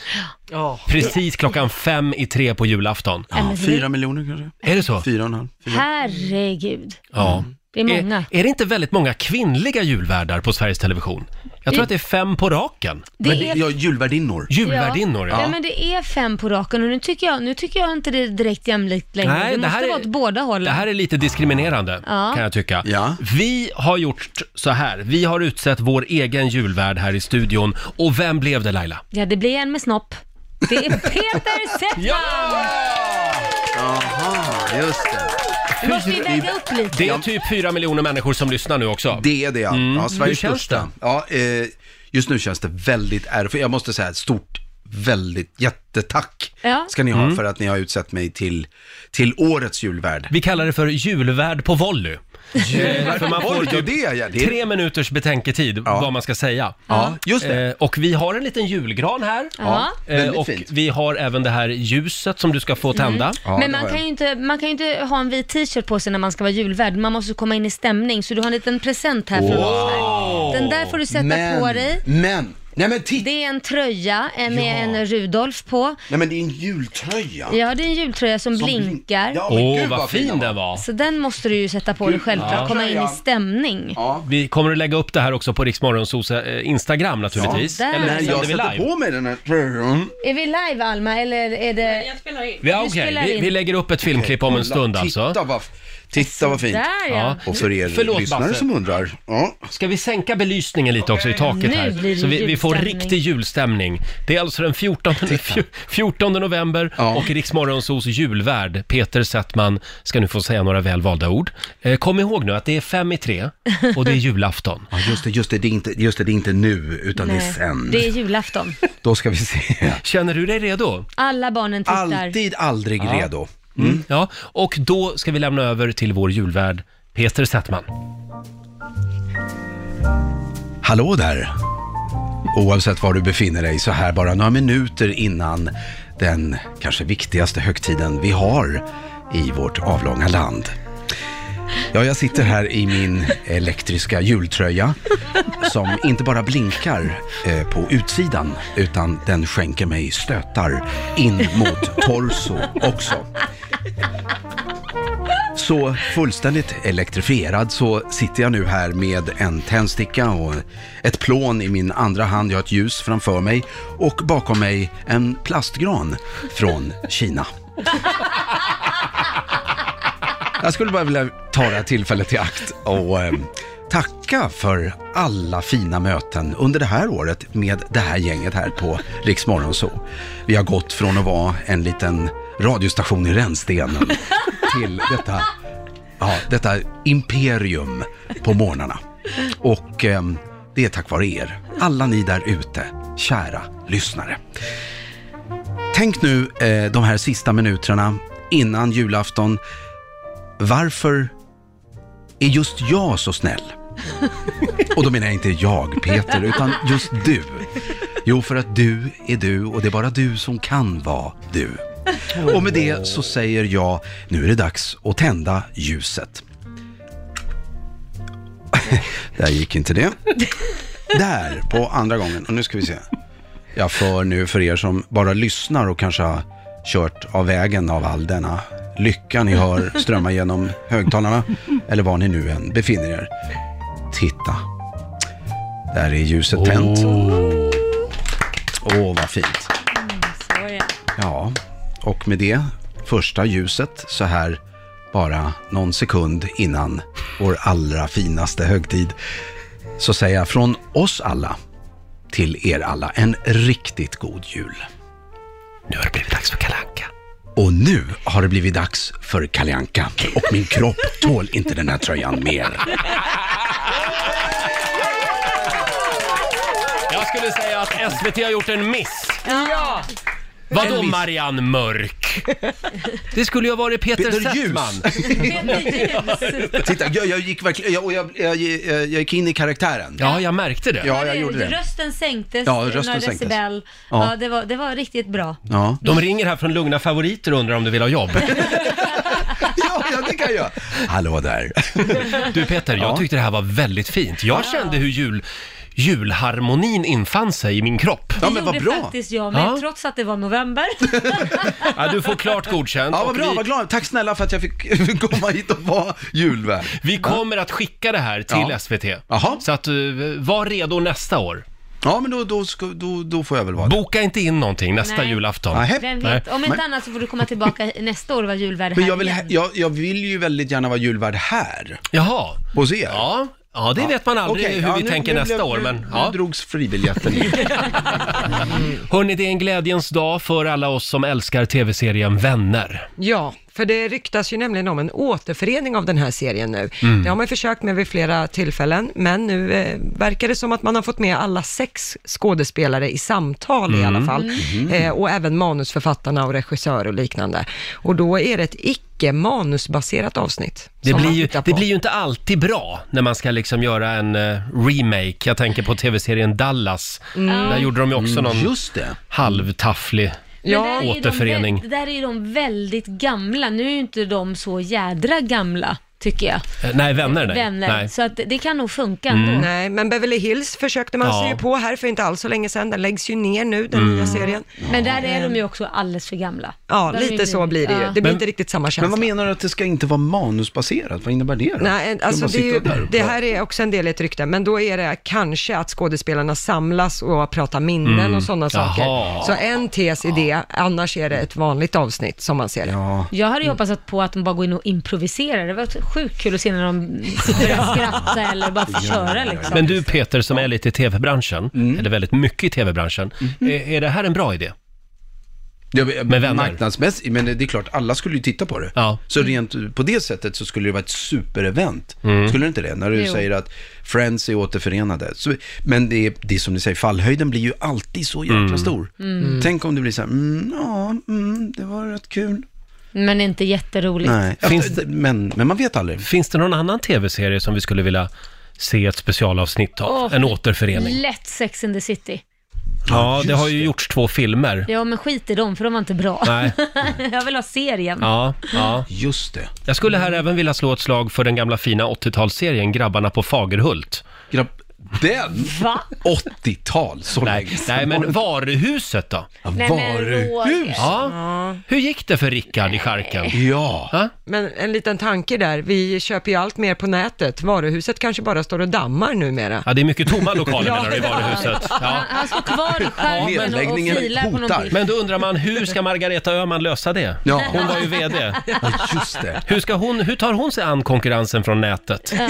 A: precis klockan fem i tre på julafton?
B: Ja, men det- Fyra
A: miljoner kanske? Är det så? Fyra och en halv.
B: Herregud. Mm.
A: Ja.
B: Det är många.
A: Mm. Är, är det inte väldigt många kvinnliga julvärdar på Sveriges Television? Jag tror
B: Det-
A: att det är fem på raken.
B: Det Men det- är- ja,
A: julvärdinnor. Julvärdinnor,
B: ja.
A: ja.
B: Nej, men det är fem på raken och nu tycker jag, nu tycker jag inte det är direkt jämlikt längre.
A: Nej,
B: det,
A: det
B: måste
A: här är-
B: vara åt båda hållen.
A: Det här är lite diskriminerande
B: Ja.
A: kan jag tycka. Vi har gjort så här, vi har utsett vår egen julvärd här i studion. Och vem blev det Laila?
B: Ja, det blir en med snopp. Det är Peter Settman!
A: Jaha, just
B: Du måste ju väga upp lite.
A: Det är typ fyra miljoner människor som lyssnar nu också.
I: Det är det, ja.
A: Mm.
I: ja Sveriges
A: Hur känns
I: största. Ja, eh, just nu känns det väldigt ärofyllt. Jag måste säga ett stort, väldigt, jättetack
B: Ja.
I: ska ni ha
A: Mm.
I: för att ni har utsett mig till, till årets julvärd.
A: Vi kallar det för julvärd på volley.
I: Julvärd
A: För man
I: på
A: får
I: volley,
A: typ
I: det är jag, det är-
A: tre minuters betänketid vad man ska säga.
I: Ja, just det.
A: Eh, Och vi har en liten julgran här.
B: Ja. Mm.
A: Eh,
I: väldigt
A: Och
I: fint.
A: vi har även det här ljuset som du ska få
I: Mm.
A: tända.
B: Men man kan, ju inte, man kan ju inte ha en vit t-shirt på sig när man ska vara julvärd. Man måste komma in i stämning, så du har en liten present här från oss. här. Den där får du sätta
I: men,
B: på dig.
I: Men, nej men titta!
B: Det är en tröja eh, med en Rudolf på.
I: Nej men det är en jultröja.
B: Ja, det är en jultröja som,
I: Som blin-
B: blinkar.
I: Ja, men Åh, gud, vad vad fin
A: fin den var.
B: Så den måste du ju sätta på dig självklart,
A: Ja.
B: komma in i
A: Tröjan.
B: stämning.
A: Vi kommer att lägga upp det här också på Riksmorgonsos eh, Instagram naturligtvis.
B: Ja, där.
A: Eller
B: Nej,
A: sänder
I: jag
A: vi
I: sätter
A: live.
I: på mig den här tröjan.
B: Är vi live Alma, eller är det... Jag
K: spelar in.
A: Ja, okej. Vi, vi lägger upp ett filmklipp om
I: Kolla,
A: en stund
I: titta
A: alltså.
I: Vad, titta vad fint.
B: Där, ja.
I: Och för er
A: Förlåt,
I: lyssnare
A: Basse.
I: som undrar. Ja.
A: Ska vi sänka belysningen lite också i
B: Nu
A: taket
B: blir det
A: här? Så vi, vi får
B: julstämning.
A: riktig julstämning. Det är alltså den 14, fj- 14 november och Riksmorgonsos julvärd Peter Settman ska nu få säga några välvalda ord. Eh, Kom ihåg nu att det är fem i tre och det är julafton.
I: Ja, just det, just det, det är inte, just det, det är inte nu, utan det är
B: Nej,
I: sen.
B: det är julafton.
I: Då ska vi se.
A: Känner du dig redo?
B: Alla barnen tittar.
I: Alltid, aldrig
A: Ja.
I: redo.
A: Mm. Ja, och då ska vi lämna över till vår julvärd Peter Settman.
I: Hallå där! Oavsett var du befinner dig så här bara några minuter innan den kanske viktigaste högtiden vi har i vårt avlånga land. Ja, jag sitter här i min elektriska jultröja som inte bara blinkar eh, på utsidan utan den skänker mig stötar in mot torso också. Så fullständigt elektrifierad så sitter jag nu här med en tändsticka och ett plån i min andra hand. Jag har ett ljus framför mig och bakom mig en plastgran från Kina. Jag skulle bara vilja ta det här tillfället i akt och eh, tacka för alla fina möten under det här året med det här gänget här på Rix Morgonzoo. Vi har gått från att vara en liten radiostation i rännstenen till detta, ja, detta imperium på morgnarna. Och eh, det är tack vare er, alla ni där ute, kära lyssnare. Tänk nu eh, de här sista minuterna innan julafton varför är just jag så snäll? Och då menar jag inte jag, Peter, utan just du. Jo, för att du är du och det är bara du som kan vara du. Och med det så säger jag, nu är det dags att tända ljuset. Där gick inte det. Där, på andra gången. Och nu ska vi se. Jag för nu för er som bara lyssnar och kanske har kört av vägen av all denna lycka ni hör strömma genom högtalarna, eller var ni nu än befinner er. Titta. Där är ljuset tänt. Åh, vad fint. Ja, och med det första ljuset så här bara någon sekund innan vår allra finaste högtid så säger jag från oss alla till er alla en riktigt god jul.
A: Nu har det blivit dags för Kalle Anka.
I: Och nu har det blivit dags för Kalle Anka och min kropp tål inte den här tröjan mer.
A: Jag skulle säga att SVT har gjort en miss.
K: Ja!
A: Vadå
K: En miss.
A: Marianne Mörk? Det skulle ju ha varit Peter,
I: Peter
A: Settman.
I: Titta, jag, jag gick verkligen, jag, och jag, jag, jag gick in i karaktären.
A: Ja, jag märkte det.
I: Ja, jag gjorde det.
B: Rösten sänktes
I: Ja, rösten
B: några
I: sänktes.
B: decibel. Ja.
A: Ja.
B: det, var, det var riktigt bra.
A: De ringer här från Lugna Favoriter och undrar om du vill ha jobb.
I: Ja, ja, det kan jag. Hallå där.
A: Du Peter, jag
I: Ja.
A: tyckte det här var väldigt fint. Jag kände hur jul, julharmonin infann sig i min kropp.
B: det gjorde faktiskt jag med,
A: Ja.
B: trots att det var november.
A: Ja, du får klart godkänt.
I: Ja, vad
A: Och
I: bra,
A: vi-
I: vad glad. Tack snälla för att jag fick komma hit och vara julvärd.
A: Vi kommer att skicka det här till
I: Ja.
A: SVT.
I: Jaha.
A: Så att eh, var redo nästa år.
I: Ja, men då, då, ska, då, då får jag väl vara det.
A: Boka inte in någonting nästa
B: Nej.
A: julafton.
I: Nej.
B: Vem vet? Om inte
I: Men-
B: annat så får du komma tillbaka nästa år och vara julvärd
I: Men
B: här
I: jag vill,
B: igen.
I: jag, jag vill ju väldigt gärna vara julvärd här,
A: Jaha.
I: hos er.
A: Ja, ja det vet man aldrig
I: Okej,
A: hur
I: ja,
A: vi
I: nu-
A: tänker
I: nu
A: nästa
I: blev-
A: år.
I: nu-
A: Men,
I: nu
A: ja.
I: drogs fribiljetten in.
A: Hörni, det är en glädjens dag för alla oss som älskar tv-serien Vänner.
C: Ja, för det ryktas ju nämligen om en återförening av den här serien nu.
A: Mm.
C: Det har man ju försökt med vid flera tillfällen, men nu eh, verkar det som att man har fått med alla sex skådespelare i samtal i
A: Mm.
C: alla fall, eh, och även manusförfattarna och regissörer och liknande. Och då är det ett icke manusbaserat avsnitt.
A: Det
C: som
A: blir,
C: man
A: ju,
C: tittar
A: det
C: på.
A: blir ju inte alltid bra när man ska liksom göra en eh, remake. Jag tänker på tv-serien Dallas.
B: Mm.
A: Där gjorde de ju också någon
I: Mm. Just det.
A: halvtafflig
B: Men
C: Ja,
B: där är ju de
A: återförening.
B: vä- Det där är ju de väldigt gamla. Nu är ju inte de så jädra gamla, tycker jag.
A: Eh, Nej, vänner nej.
B: Vänner.
A: nej.
B: Så att det kan nog funka ändå.
C: Mm. Nej, men Beverly Hills försökte man
A: Ja. Mm.
C: sig ju på här för inte alls så länge sedan. Den läggs ju ner nu, den
I: Mm.
C: nya serien.
B: Men där är de ju också alldeles för gamla.
C: Ja,
B: Där är de
C: lite
B: inte-
C: så blir det ju.
B: ja.
C: Det blir inte riktigt samma känsla.
I: Men vad menar du att det ska inte vara manusbaserat? Vad innebär det då?
C: Nej, en-
I: Ska
C: alltså
I: man
C: det, är ju,
I: sitta där och
C: det
I: prata?
C: här är också en del i ett rykte, men då är det kanske att skådespelarna samlas och pratar minnen
I: Mm.
C: och sådana saker. Så en tes i det, annars är det ett vanligt avsnitt som man ser det.
I: Ja.
B: Jag hade ju
A: Mm.
B: hoppats att på att de bara går in och improviserar. Det var sjukt kul att se när de sitter och skrattar eller bara får köra liksom.
A: Men du Peter som är lite i tv-branschen,
I: Mm.
A: eller väldigt mycket i tv-branschen, är, är det här en bra idé?
I: Ja, men-
A: Med vänner.
I: Marknadsmässigt, men det är klart, alla skulle ju titta på det.
A: Ja.
I: Så rent eh, på det sättet så skulle det vara ett superevent.
A: Mm.
I: Skulle det inte det? När du
B: Jo.
I: säger att Friends är återförenade. Så, men det är, det är som ni säger, fallhöjden blir ju alltid så jäkla
A: Mm.
I: stor. Tänk om det blir så här, mm, ja, mm, det var rätt kul.
B: Men inte jätteroligt.
I: Nej,
A: Finns-
I: Att- men, men man vet aldrig.
A: Finns det någon annan tv-serie som vi skulle vilja se ett specialavsnitt av?
B: Åh,
A: en återförening?
B: Lätt Sex and the City.
A: Ja, det
I: just
A: har ju gjorts två filmer.
B: Ja, men skit i dem för de var inte bra.
A: Nej.
B: Jag vill ha serien.
A: Ja, ja.
I: Just det.
A: Jag skulle här även vilja slå ett slag för den gamla fina 80-talsserien Grabbarna på Fagerhult.
I: Grabb, den!
B: Va?
I: 80-tal, så
A: Nej,
I: länge sedan
A: nej
I: var
A: men
I: det.
A: varuhuset då?
I: Ja,
B: Nej, men
I: Varuhus!
B: Roger.
A: Ja. Hur gick det för Rickard i charken?
I: Ja.
A: Ha?
C: Men en liten tanke där, vi köper ju allt mer på nätet. Varuhuset kanske bara står och dammar numera.
A: Ja, det är mycket tomma lokaler menar du i varuhuset. Ja.
B: Han, han står kvar i skärmen och, och
I: Nedläggningen
B: filar på
I: hotar.
B: någonting.
A: Men då undrar man, hur ska Margareta Öhman lösa det?
I: Ja.
A: Hon var ju VD.
I: Ja, just det.
A: Hur, ska hon, hur tar hon sig an konkurrensen från nätet?
B: Ja.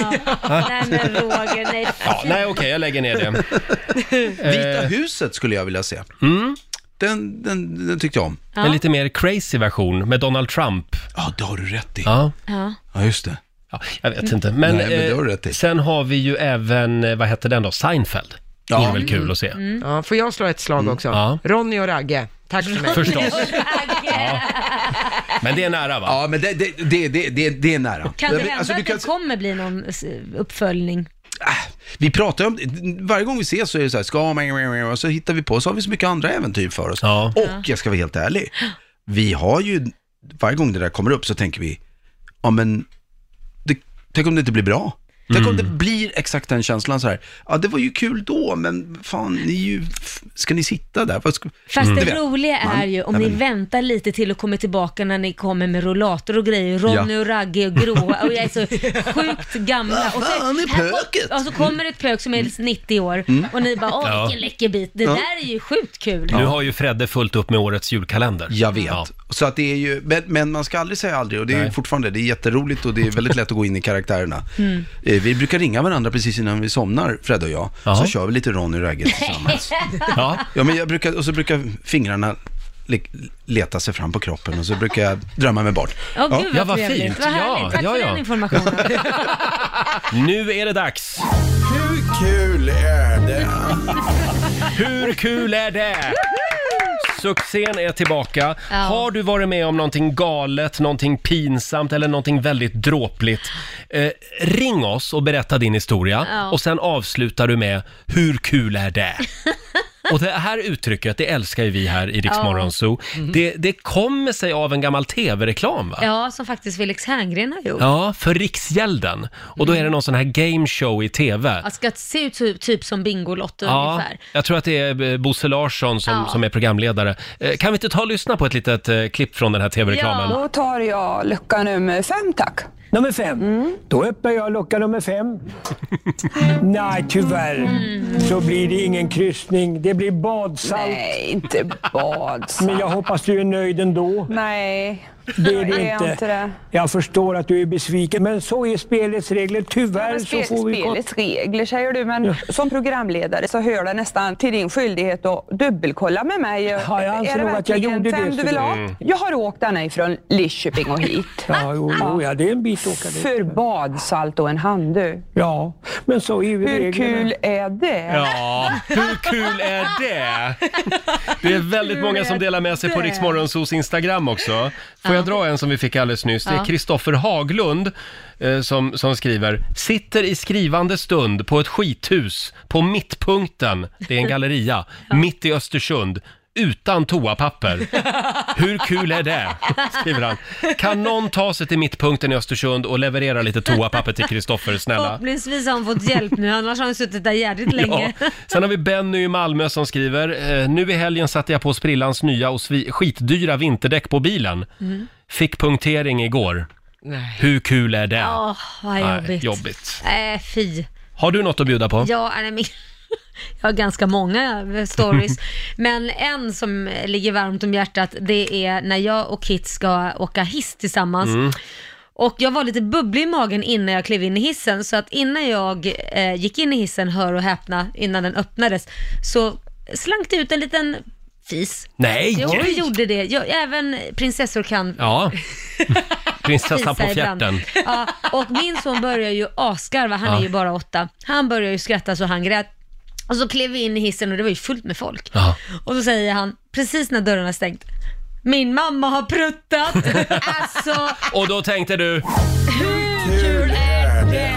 B: Nej men Roger, nej.
A: Ja, nej, okej, jag lägger ner det. Eh.
I: Vita huset skulle jag vilja se. Den, den, den tyckte jag om.
A: Mm. En lite mer crazy version med Donald Trump.
I: Ja, det har du rätt i.
A: Ja,
B: Ja.
I: Ja, just det.
A: ja jag vet inte. Men,
I: Nej, men det
A: eh,
I: har du rätt i.
A: sen har vi ju även, eh, vad hette den då, Seinfeld. Det vore
I: Ja.
A: väl kul att se.
I: Mm.
C: Ja, får jag slå ett slag också?
A: Ja.
C: Ronny och Ragge, tack för mig.
A: Förstås. Men det är nära va?
I: Ja, men det, det, det, det, det, det är nära.
B: Kan det
I: Jag vet-
B: hända
I: alltså, du
B: att det kommer bli någon s- uppföljning?
I: Vi pratar ju om, varje gång vi ses så är det så här, ska man, och så hittar vi på, så har vi så mycket andra äventyr för oss.
A: Ja.
I: Och jag ska vara helt ärlig, vi har ju, varje gång det där kommer upp så tänker vi, ja men, det, tänk om det inte blir bra. Tänk
A: Mm.
I: om det blir exakt den känslan så här, ja det var ju kul då, men fan, ni är ju, f- ska ni sitta där? Vad ska, Mm.
B: Fast
A: Mm.
I: Du
B: det
I: vet,
B: roliga
I: man-
B: är ju om
I: Nej,
B: ni
I: men-
B: väntar lite till och kommer tillbaka när ni kommer med rollator och grejer, Ronny och Ragge och gråa och jag är så sjukt gamla. Och så,
I: Fan, i
B: här kom-
I: pöket!
B: och så kommer ett pök som är 90 år och ni bara åh
A: Mm. Ja.
B: vilken läcker bit, det där är ju sjukt kul.
A: Nu har ju Fredde fullt upp med årets julkalender.
I: Jag vet.
A: Ja.
I: Så att det är ju, men, men man ska aldrig säga aldrig och det är
A: Nej.
I: ju fortfarande, det är jätteroligt och det är väldigt lätt att gå in i karaktärerna.
G: Mm.
I: Eh, Vi brukar ringa varandra precis innan vi somnar, Fred och jag,
A: Jaha.
I: så kör vi lite Ronny och Ragge tillsammans.
A: Ja.
I: ja, men jag brukar, och så brukar fingrarna le- leta sig fram på kroppen och så brukar jag drömma mig bort.
B: Åh
I: Ja.
B: gud
A: Ja,
B: vad
A: vad
B: trevligt,
A: fint.
B: vad
A: Ja,
B: härligt. Tack
A: ja,
B: för
A: ja.
B: den informationen.
A: Nu är det dags!
D: Hur kul är det?
A: Hur kul är det? Succén är tillbaka. Har du varit med om någonting galet, någonting pinsamt eller någonting väldigt dråpligt? Eh, ring oss och berätta din historia
B: Ja.
A: och sen avslutar du med “Hur kul är det?” Och det här uttrycket, det älskar ju vi här i Rix
B: Ja. Mm.
A: Morgon Zoo. Det, det kommer sig av en gammal tv-reklam va?
B: Ja, som faktiskt Felix Herngren har gjort.
A: Ja, för Riksgälden. Och
B: Mm.
A: då är det någon sån här game show i tv.
B: Att ska se ut så- typ som Bingolotto Alltså, ungefär.
A: jag tror att det är eh, Bosse Larsson som,
B: Ja.
A: som är programledare. Eh, Kan vi inte ta och lyssna på ett litet eh, klipp från den här tv-reklamen?
K: Då tar jag lucka nummer fem tack.
L: Nummer fem. Då öppnar jag lucka nummer fem. Nej, tyvärr. Så blir det ingen kryssning. Det blir badsalt. Nej, inte badsalt. Men jag hoppas du är nöjd ändå.
K: Nej,
L: Det är
K: jag
L: du inte.
K: inte det.
L: Jag förstår att du är besviken, men så är spelets regler. Tyvärr
K: Men
L: så
K: spel,
L: får vi... gå-
K: spelets regler säger du, men som programledare så hör det nästan till din skyldighet att dubbelkolla med mig.
L: Ja, jag anser
K: är det
L: nog att jag
K: verkligen
L: gjorde det,
K: fem
L: så
K: Du vill
L: det-
K: ha?
L: Mm.
K: Jag har åkt den här ifrån Lidköping och hit.
L: Ja, jo, jo, ja, det är en bit att åka dit.
K: För badsalt och en handduk.
L: Ja, men så är ju
K: Hur
L: reglerna.
K: kul är det?
A: Ja, hur kul är det? Det är väldigt många som delar med sig på Rix Morgonzos Instagram också. Får jag dra en som vi fick alldeles nyss? Det
M: Ja.
A: är Kristoffer Haglund eh, som, som skriver “Sitter i skrivande stund på ett skithus på mittpunkten, det är en galleria, mitt i Östersund, utan toapapper. Hur kul är det?” skriver han. “Kan någon ta sig till mittpunkten i Östersund och leverera lite toapapper till Kristoffer, snälla?”
B: Förhoppningsvis har han fått hjälp nu, annars har han suttit där jävligt länge.
A: Ja. Sen har vi Benny i Malmö som skriver, eh, nu i helgen satte jag på sprillans nya och svi- skitdyra vinterdäck på bilen.
B: Mm.
A: Fick punktering igår.
B: Nej.
A: Hur kul är det?
B: Åh, vad
A: Nej,
B: jobbigt.
A: jobbigt.
B: Nej, fy.
A: Har du något att bjuda på?
B: Ja, nej, men, jag har ganska många stories. men en som ligger varmt om hjärtat, det är när jag och Kit ska åka hiss tillsammans.
N: Mm.
B: Och jag var lite bubblig i magen innan jag klev in i hissen, så att innan jag eh, gick in i hissen, hör och häpna, innan den öppnades, så slank det ut en liten fis.
A: Nej!
B: Jo, det gjorde det. Jag, även prinsessor kan
A: Ja. Prinsessan på
B: fisa ibland.
A: fjärten.
B: Ja, och min son börjar ju asgarva, han
A: Ja.
B: är ju bara åtta. Han börjar ju skratta så han grät. Och så klev vi in i hissen och det var ju fullt med folk.
A: Ja.
B: Och så säger han, precis när dörren har stängt, min mamma har pruttat. alltså,
A: Och då tänkte du,
B: hur kul är det?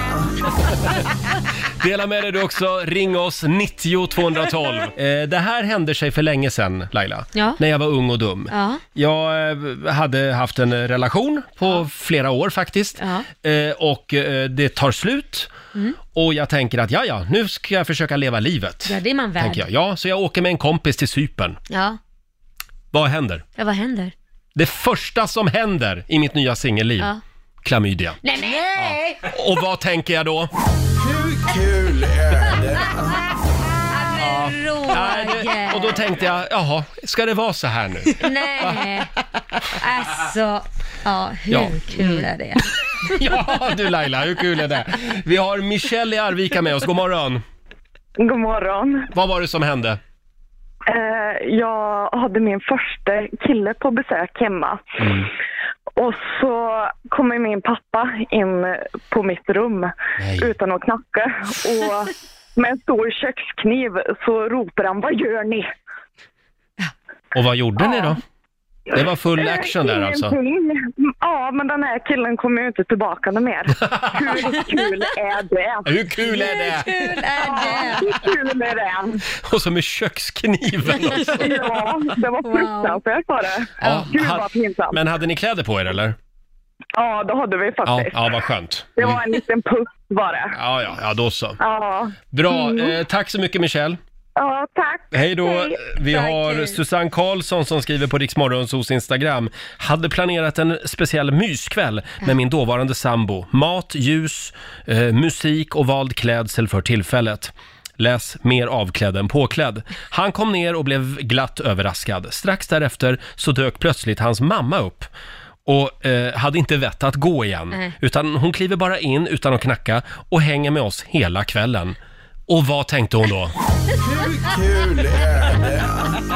A: dela med dig du också, ring oss 90 212. Eh, det här hände sig för länge sedan, Laila,
B: Ja.
A: när jag var ung och dum.
B: Ja.
A: Jag eh, hade haft en relation på flera år faktiskt. Eh, och eh, det tar slut.
B: Mm.
A: Och jag tänker att ja, ja, nu ska jag försöka leva livet.
B: Ja, det är man värd.
A: Tänker jag. Ja, så jag åker med en kompis till Cypern.
B: Ja.
A: Vad händer?
B: ja, vad händer?
A: Det första som händer i mitt nya singelliv,
B: Ja.
A: klamydia.
B: Nej, men- Ja.
A: Och vad tänker jag då?
B: Hur kul är det? Roger.
A: Och då tänkte jag, jaha, ska det vara så här nu?
B: Nej, alltså, ja, hur
A: Ja.
B: kul är det?
A: Ja du Laila, hur kul är det? Vi har Michelle i Arvika med oss, god morgon.
O: God morgon.
A: Vad var det som hände?
O: Eh, jag hade min första kille på besök hemma. Och så kommer min pappa in på mitt rum utan att knacka. Och med en stor kökskniv så ropar han ”Vad gör ni?”
A: Och vad gjorde ni då? Det var
O: Eh,
A: full action där alltså.
O: Ingenting. Ja, men den här killen kommer ju inte tillbaka något mer. Hur kul är det?
A: Hur kul är det?
O: Hur kul är det? Hur kul är det?
A: Och så med kökskniven också.
O: Ja, det var fruktansvärt var det. Gud
A: ha-
O: vad pinsamt.
A: Men hade ni kläder på er eller?
O: Ja, det hade vi
A: Ja,
O: faktiskt.
A: ja vad skönt.
O: Det var en liten puss bara.
A: Ja, ja, ja då så.
O: Ja.
A: Bra,
O: Mm.
A: eh, tack så mycket Michelle.
O: Ja, tack.
A: Hej då!
O: Hej.
A: Vi har Susanne Karlsson som skriver på Riksmorgonsos Instagram. Hade planerat en speciell myskväll med min dåvarande sambo. Mat, ljus, eh, musik och vald klädsel för tillfället. Läs mer avklädd än påklädd. Han kom ner och blev glatt överraskad. Strax därefter så dök plötsligt hans mamma upp och eh, hade inte vett att gå igen.
B: Nej.
A: Utan hon kliver bara in utan att knacka och hänger med oss hela kvällen. Och vad tänkte hon då?
B: Hur kul är det?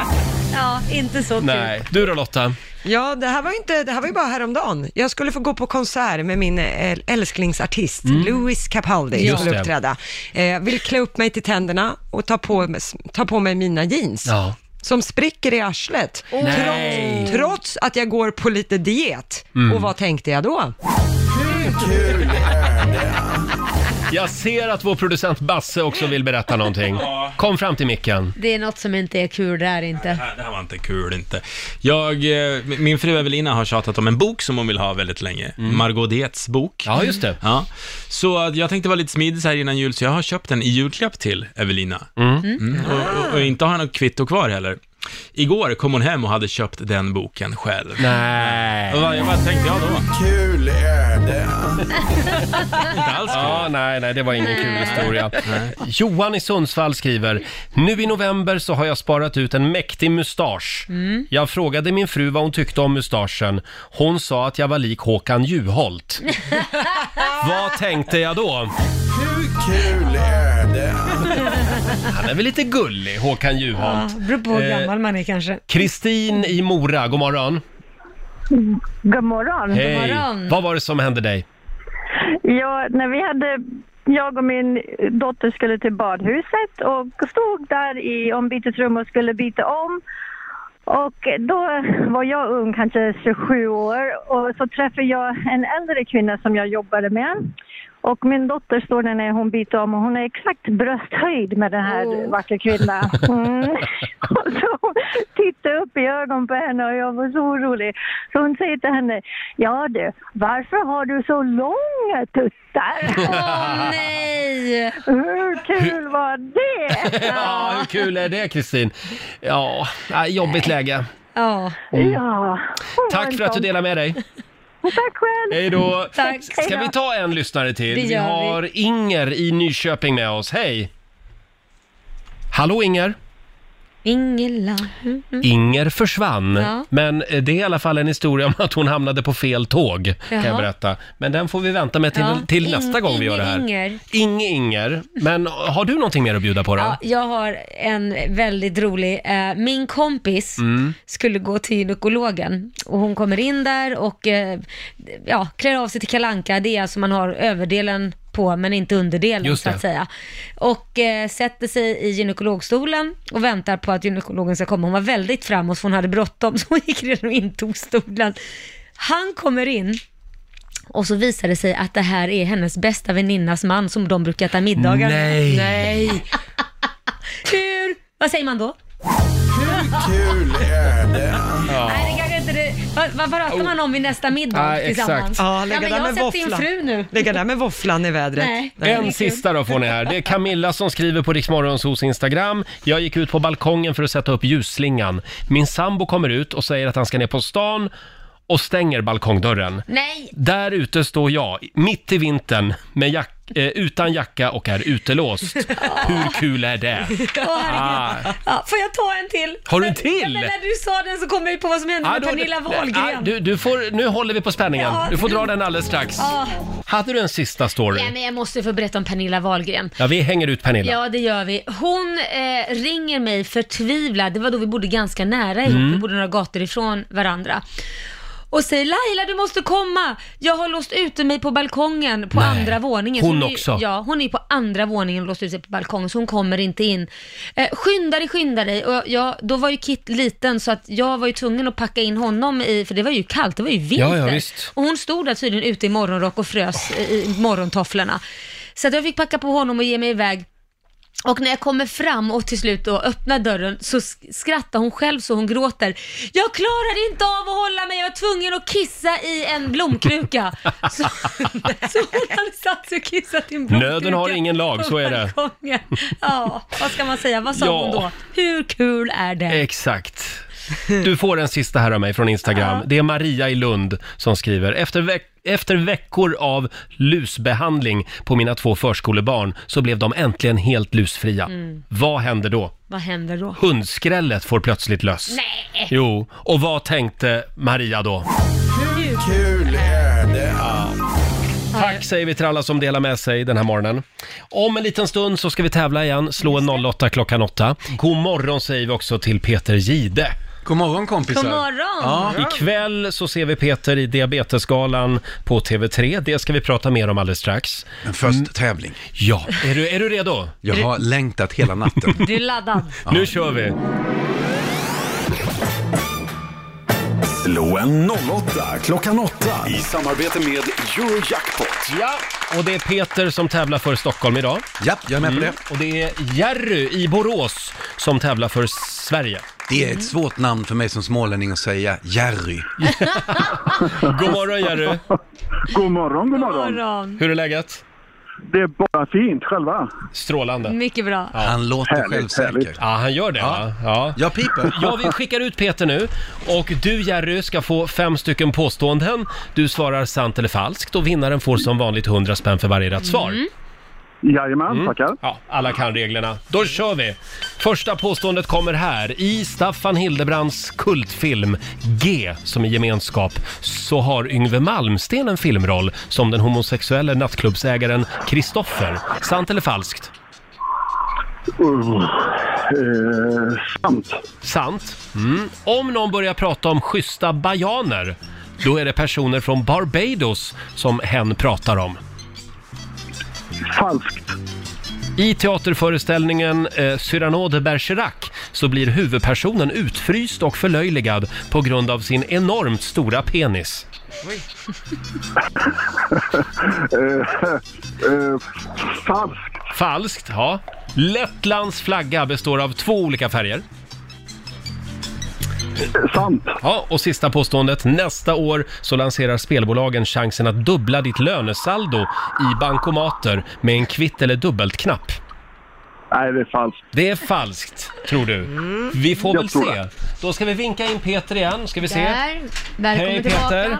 B: Ja, inte så kul.
A: Nej. Du då Lotta?
C: Ja, det här var ju, inte, det här var ju bara häromdagen. Jag skulle få gå på konsert med min äl- älsklingsartist,
A: Mm.
C: Louis Capaldi,
P: Just
C: som skulle
P: det.
C: uppträda. Eh, vill klä upp mig till tänderna och ta på, ta på mig mina jeans.
A: Ja.
C: Som spricker i arslet.
A: Nej.
C: Trots, trots att jag går på lite diet.
A: Mm.
C: Och vad tänkte jag då?
A: Jag ser att vår producent Basse också vill berätta någonting. Kom fram till micken.
B: Det är något som inte är kul där inte.
M: Det här var inte kul inte. Jag, eh, m- min fru Evelina har tjatat om en bok som hon vill ha väldigt länge. Margot Dietz bok.
A: Mm. Ja, just det.
M: Ja. Så att jag tänkte vara lite smidig så här innan jul, så jag har köpt den i julklapp till Evelina. Mm, och, och, och inte har något kvitto kvar heller. Igår kom hon hem och hade köpt den boken själv.
A: Nej.
M: Vad, vad tänkte jag då?
D: Kul öde.
M: Inte alls kul.
A: Ja, nej, nej, det var ingen kul historia. Johan i Sundsvall skriver, nu i november så har jag sparat ut en mäktig mustasch.
B: Mm.
A: Jag frågade min fru vad hon tyckte om mustaschen. Hon sa att jag var lik Håkan Juholt. vad tänkte jag då?
D: Kul öde.
A: Han är väl lite gullig, Håkan
B: Ja,
A: Juholt.
B: beror på hur
A: Eh,
B: gammal man är kanske.
A: Kristin i Mora, god morgon.
O: God morgon.
A: Hej! Vad var det som hände dig?
O: Ja, när vi hade, jag och min dotter skulle till badhuset och stod där i ombytesrum och skulle byta om. Och då var jag ung, kanske 27 år, och så träffade jag en äldre kvinna som jag jobbade med. Och min dotter står där när hon byter om och hon är exakt brösthöjd med den här vackra kvinnan. Mm. Och så tittade jag upp i ögonen på henne och jag var så orolig. Så hon säger till henne, ja du, varför har du så långa tuttar?
B: Åh nej!
O: Hur kul var det?
A: Ja, hur kul är det Kristin? Ja, nej, jobbigt läge.
B: Ja.
A: Mm.
O: ja.
A: Tack för att du delar med dig.
O: Tack själv.
A: Hej då!
B: Tack.
A: Ska vi ta en lyssnare till?
B: Det
A: Vi
B: gör vi.
A: har Inger i Nyköping med oss. Hej! Hallå Inger!
B: Ingela.
A: Inger försvann,
B: Ja.
A: men eh, det är i alla fall en historia om att hon hamnade på fel tåg, kan jag
B: Jaha.
A: berätta. Men den får vi vänta med till,
B: Ja.
A: till
B: In-
A: nästa gång vi gör det här.
B: Inger.
A: Inge Inger. Men har du någonting mer att bjuda på då?
B: Ja, jag har en väldigt rolig. Eh, min kompis
A: Mm.
B: skulle gå till gynekologen och hon kommer in där och eh, ja, klär av sig till kalanka. Det är alltså man har överdelen på men inte underdelen
N: Just
B: så
N: det.
B: att säga. Och eh, sätter sig i gynekologstolen och väntar på att gynekologen ska komma. Hon var väldigt framåt för hon hade bråttom så hon gick redan och intog stolen. Han kommer in och så visar det sig att det här är hennes bästa väninnas man som de brukar äta middagar med.
A: Nej.
B: Nej. Hur? Vad säger man då?
D: Kul öde.
B: Nej, det kanske inte det. Vad, vad pratar man om vid nästa middag tillsammans?
C: Ja, lägga
B: men
C: där
B: jag har
C: med
B: sett din
C: våfflan.
B: fru nu.
C: Lägga där med våfflan i vädret.
B: Nej.
A: En sista då får ni här. Det är Camilla som skriver på Riksmorgonsos Instagram. Jag gick ut på balkongen för att sätta upp ljusslingan. Min sambo kommer ut och säger att han ska ner på stan och stänger balkongdörren.
B: Nej!
A: Där ute står jag, mitt i vintern, med jack- eh, utan jacka och är utelåst. Hur kul är det?
B: Åh, herregud.
A: Ah.
B: Ja, får jag ta en till?
A: Har du en
B: Ja, men
A: till?
B: när du sa den så kom jag ju på vad som hände
A: Ah,
B: med
A: då-
B: Pernilla
A: Ah,
B: Wahlgren.
A: du, du får, nu håller vi på spänningen.
B: Ja.
A: Du får dra den alldeles strax.
B: Ja.
A: Hade du en sista story?
B: Ja, men jag måste få berätta om Pernilla Wahlgren.
A: Ja, vi hänger ut Pernilla.
B: Ja, det gör vi. Hon eh, ringer mig förtvivlad. Det var då vi bodde ganska nära ihop.
N: Mm.
B: Vi bodde några gator ifrån varandra. Och säger Laila, du måste komma. Jag har låst ute mig på balkongen på
N: Nej.
B: andra våningen.
N: Hon
B: är ju-
N: också.
B: Ja, hon är ju på andra våningen och låst ut sig på balkongen så hon kommer inte in. Eh, skynda dig, skynda dig. Och jag, då var ju Kit liten så att jag var ju tvungen att packa in honom i, för det var ju kallt, det var ju vinter.
N: Ja, ja, visst.
B: Och hon stod där tydligen ute i morgonrock och frös eh, i morgontofflorna. Så att jag fick packa på honom och ge mig iväg. Och när jag kommer fram och till slut då öppnar dörren så sk- skrattar hon själv så hon gråter. Jag klarade inte av att hålla mig, jag var tvungen att kissa i en blomkruka. så, så hon hade satt sig och kissat i en blomkruka.
A: Nöden har ingen lag, så är det.
B: på balkongen. Ja, vad ska man säga, vad sa
A: Ja.
B: hon då? Hur kul är det?
A: Exakt. Du får en sista här av mig från Instagram. Det är Maria i Lund som skriver. Efter, veck- efter veckor av lusbehandling på mina två förskolebarn så blev de äntligen helt lusfria.
B: Mm.
A: Vad händer då?
B: Vad händer då?
A: Hundskrället får plötsligt löss.
B: Nej.
A: Jo, och vad tänkte Maria då?
D: Kul öde.
A: Tack säger vi till alla som delar med sig den här morgonen. Om en liten stund så ska vi tävla igen. Slå en 08 klockan 8. God morgon säger vi också till Peter Gide.
F: God morgon kompisar.
B: God morgon.
A: Ja. Ikväll så ser vi Peter i Diabetesgalan på TV3. Det ska vi prata mer om alldeles strax. Mm.
I: Men först tävling.
A: Ja, är du, är du redo?
I: Jag har längtat hela natten.
B: Du är laddad.
A: Nu kör vi!
D: Slå en 08 klockan 8.
J: I samarbete med Eurojackpot.
A: Ja. Och det är Peter som tävlar för Stockholm idag.
I: Ja, jag är med på
A: det. Och det är Jerry i Borås som tävlar för Sverige.
I: Det
N: Mm.
I: är ett svårt namn för mig som smålänning att säga, Jerry.
A: God morgon Jerry!
N: God morgon, god morgon.
B: morgon.
A: Hur är läget?
N: Det är bara fint själva.
A: Strålande.
B: Mycket bra.
I: Han låter
A: Härligt,
I: självsäker.
A: härligt. Ja, han gör det va? Ja.
I: Jag piper.
A: Ja, vi skickar ut Peter nu. Och du Jerry ska få fem stycken påståenden. Du svarar sant eller falskt och vinnaren får som vanligt 100 spänn för varje rätt svar. Mm.
N: Jajamän, tackar.
A: Ja, alla kan reglerna. Då kör vi! Första påståendet kommer här. I Staffan Hildebrands kultfilm G, som är gemenskap, så har Yngve Malmsten en filmroll som den homosexuelle nattklubbsägaren Kristoffer. Sant eller falskt?
N: Uh, eh, sant.
A: Sant. Mm. Om någon börjar prata om schyssta bajaner, då är det personer från Barbados som hen pratar om.
N: Falskt.
A: I teaterföreställningen eh, Cyrano de Bergerac så blir huvudpersonen utfryst och förlöjligad på grund av sin enormt stora penis.
N: Eh, eh, falskt.
A: Falskt, ja. Lettlands flagga består av två olika färger.
N: Sant.
A: Ja, och sista påståendet. Nästa år så lanserar spelbolagen chansen att dubbla ditt lönesaldo i bankomater med en kvitt eller dubbelt-knapp.
N: Nej, det är falskt.
A: Det är falskt, tror du. Vi får
N: Jag
A: väl
N: tror
A: se.
N: det.
A: Då ska vi vinka in Peter igen, ska vi se.
B: Där. Välkommen
A: Hej,
B: tillbaka.
A: Peter.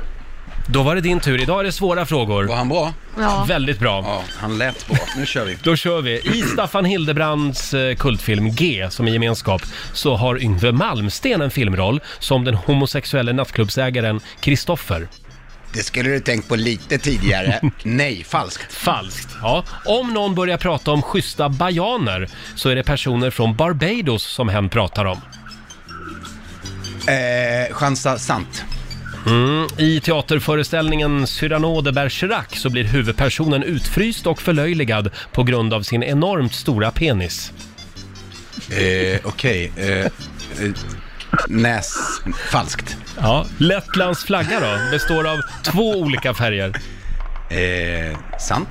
A: Då var det din tur. Idag är det svåra frågor. Var
I: han bra?
B: Ja.
A: Väldigt bra.
I: Ja, han lät bra. Nu kör vi.
A: Då kör vi. I Staffan Hildebrands eh, kultfilm G, som är gemenskap, så har Yngve Malmsten en filmroll som den homosexuella nattklubbsägaren Kristoffer.
P: Det skulle du tänkt på lite tidigare. Nej, falskt.
A: Falskt, ja. Om någon börjar prata om schyssta bajaner så är det personer från Barbados som hen pratar om.
I: Eh, chansa sant.
A: Mm. I teaterföreställningen Cyrano de Bergerac så blir huvudpersonen utfryst och förlöjligad på grund av sin enormt stora penis.
I: Eh, Okej. Eh, eh, näs... Falskt.
A: Ja, Lettlands flagga då består av två olika färger.
I: Eh, sant.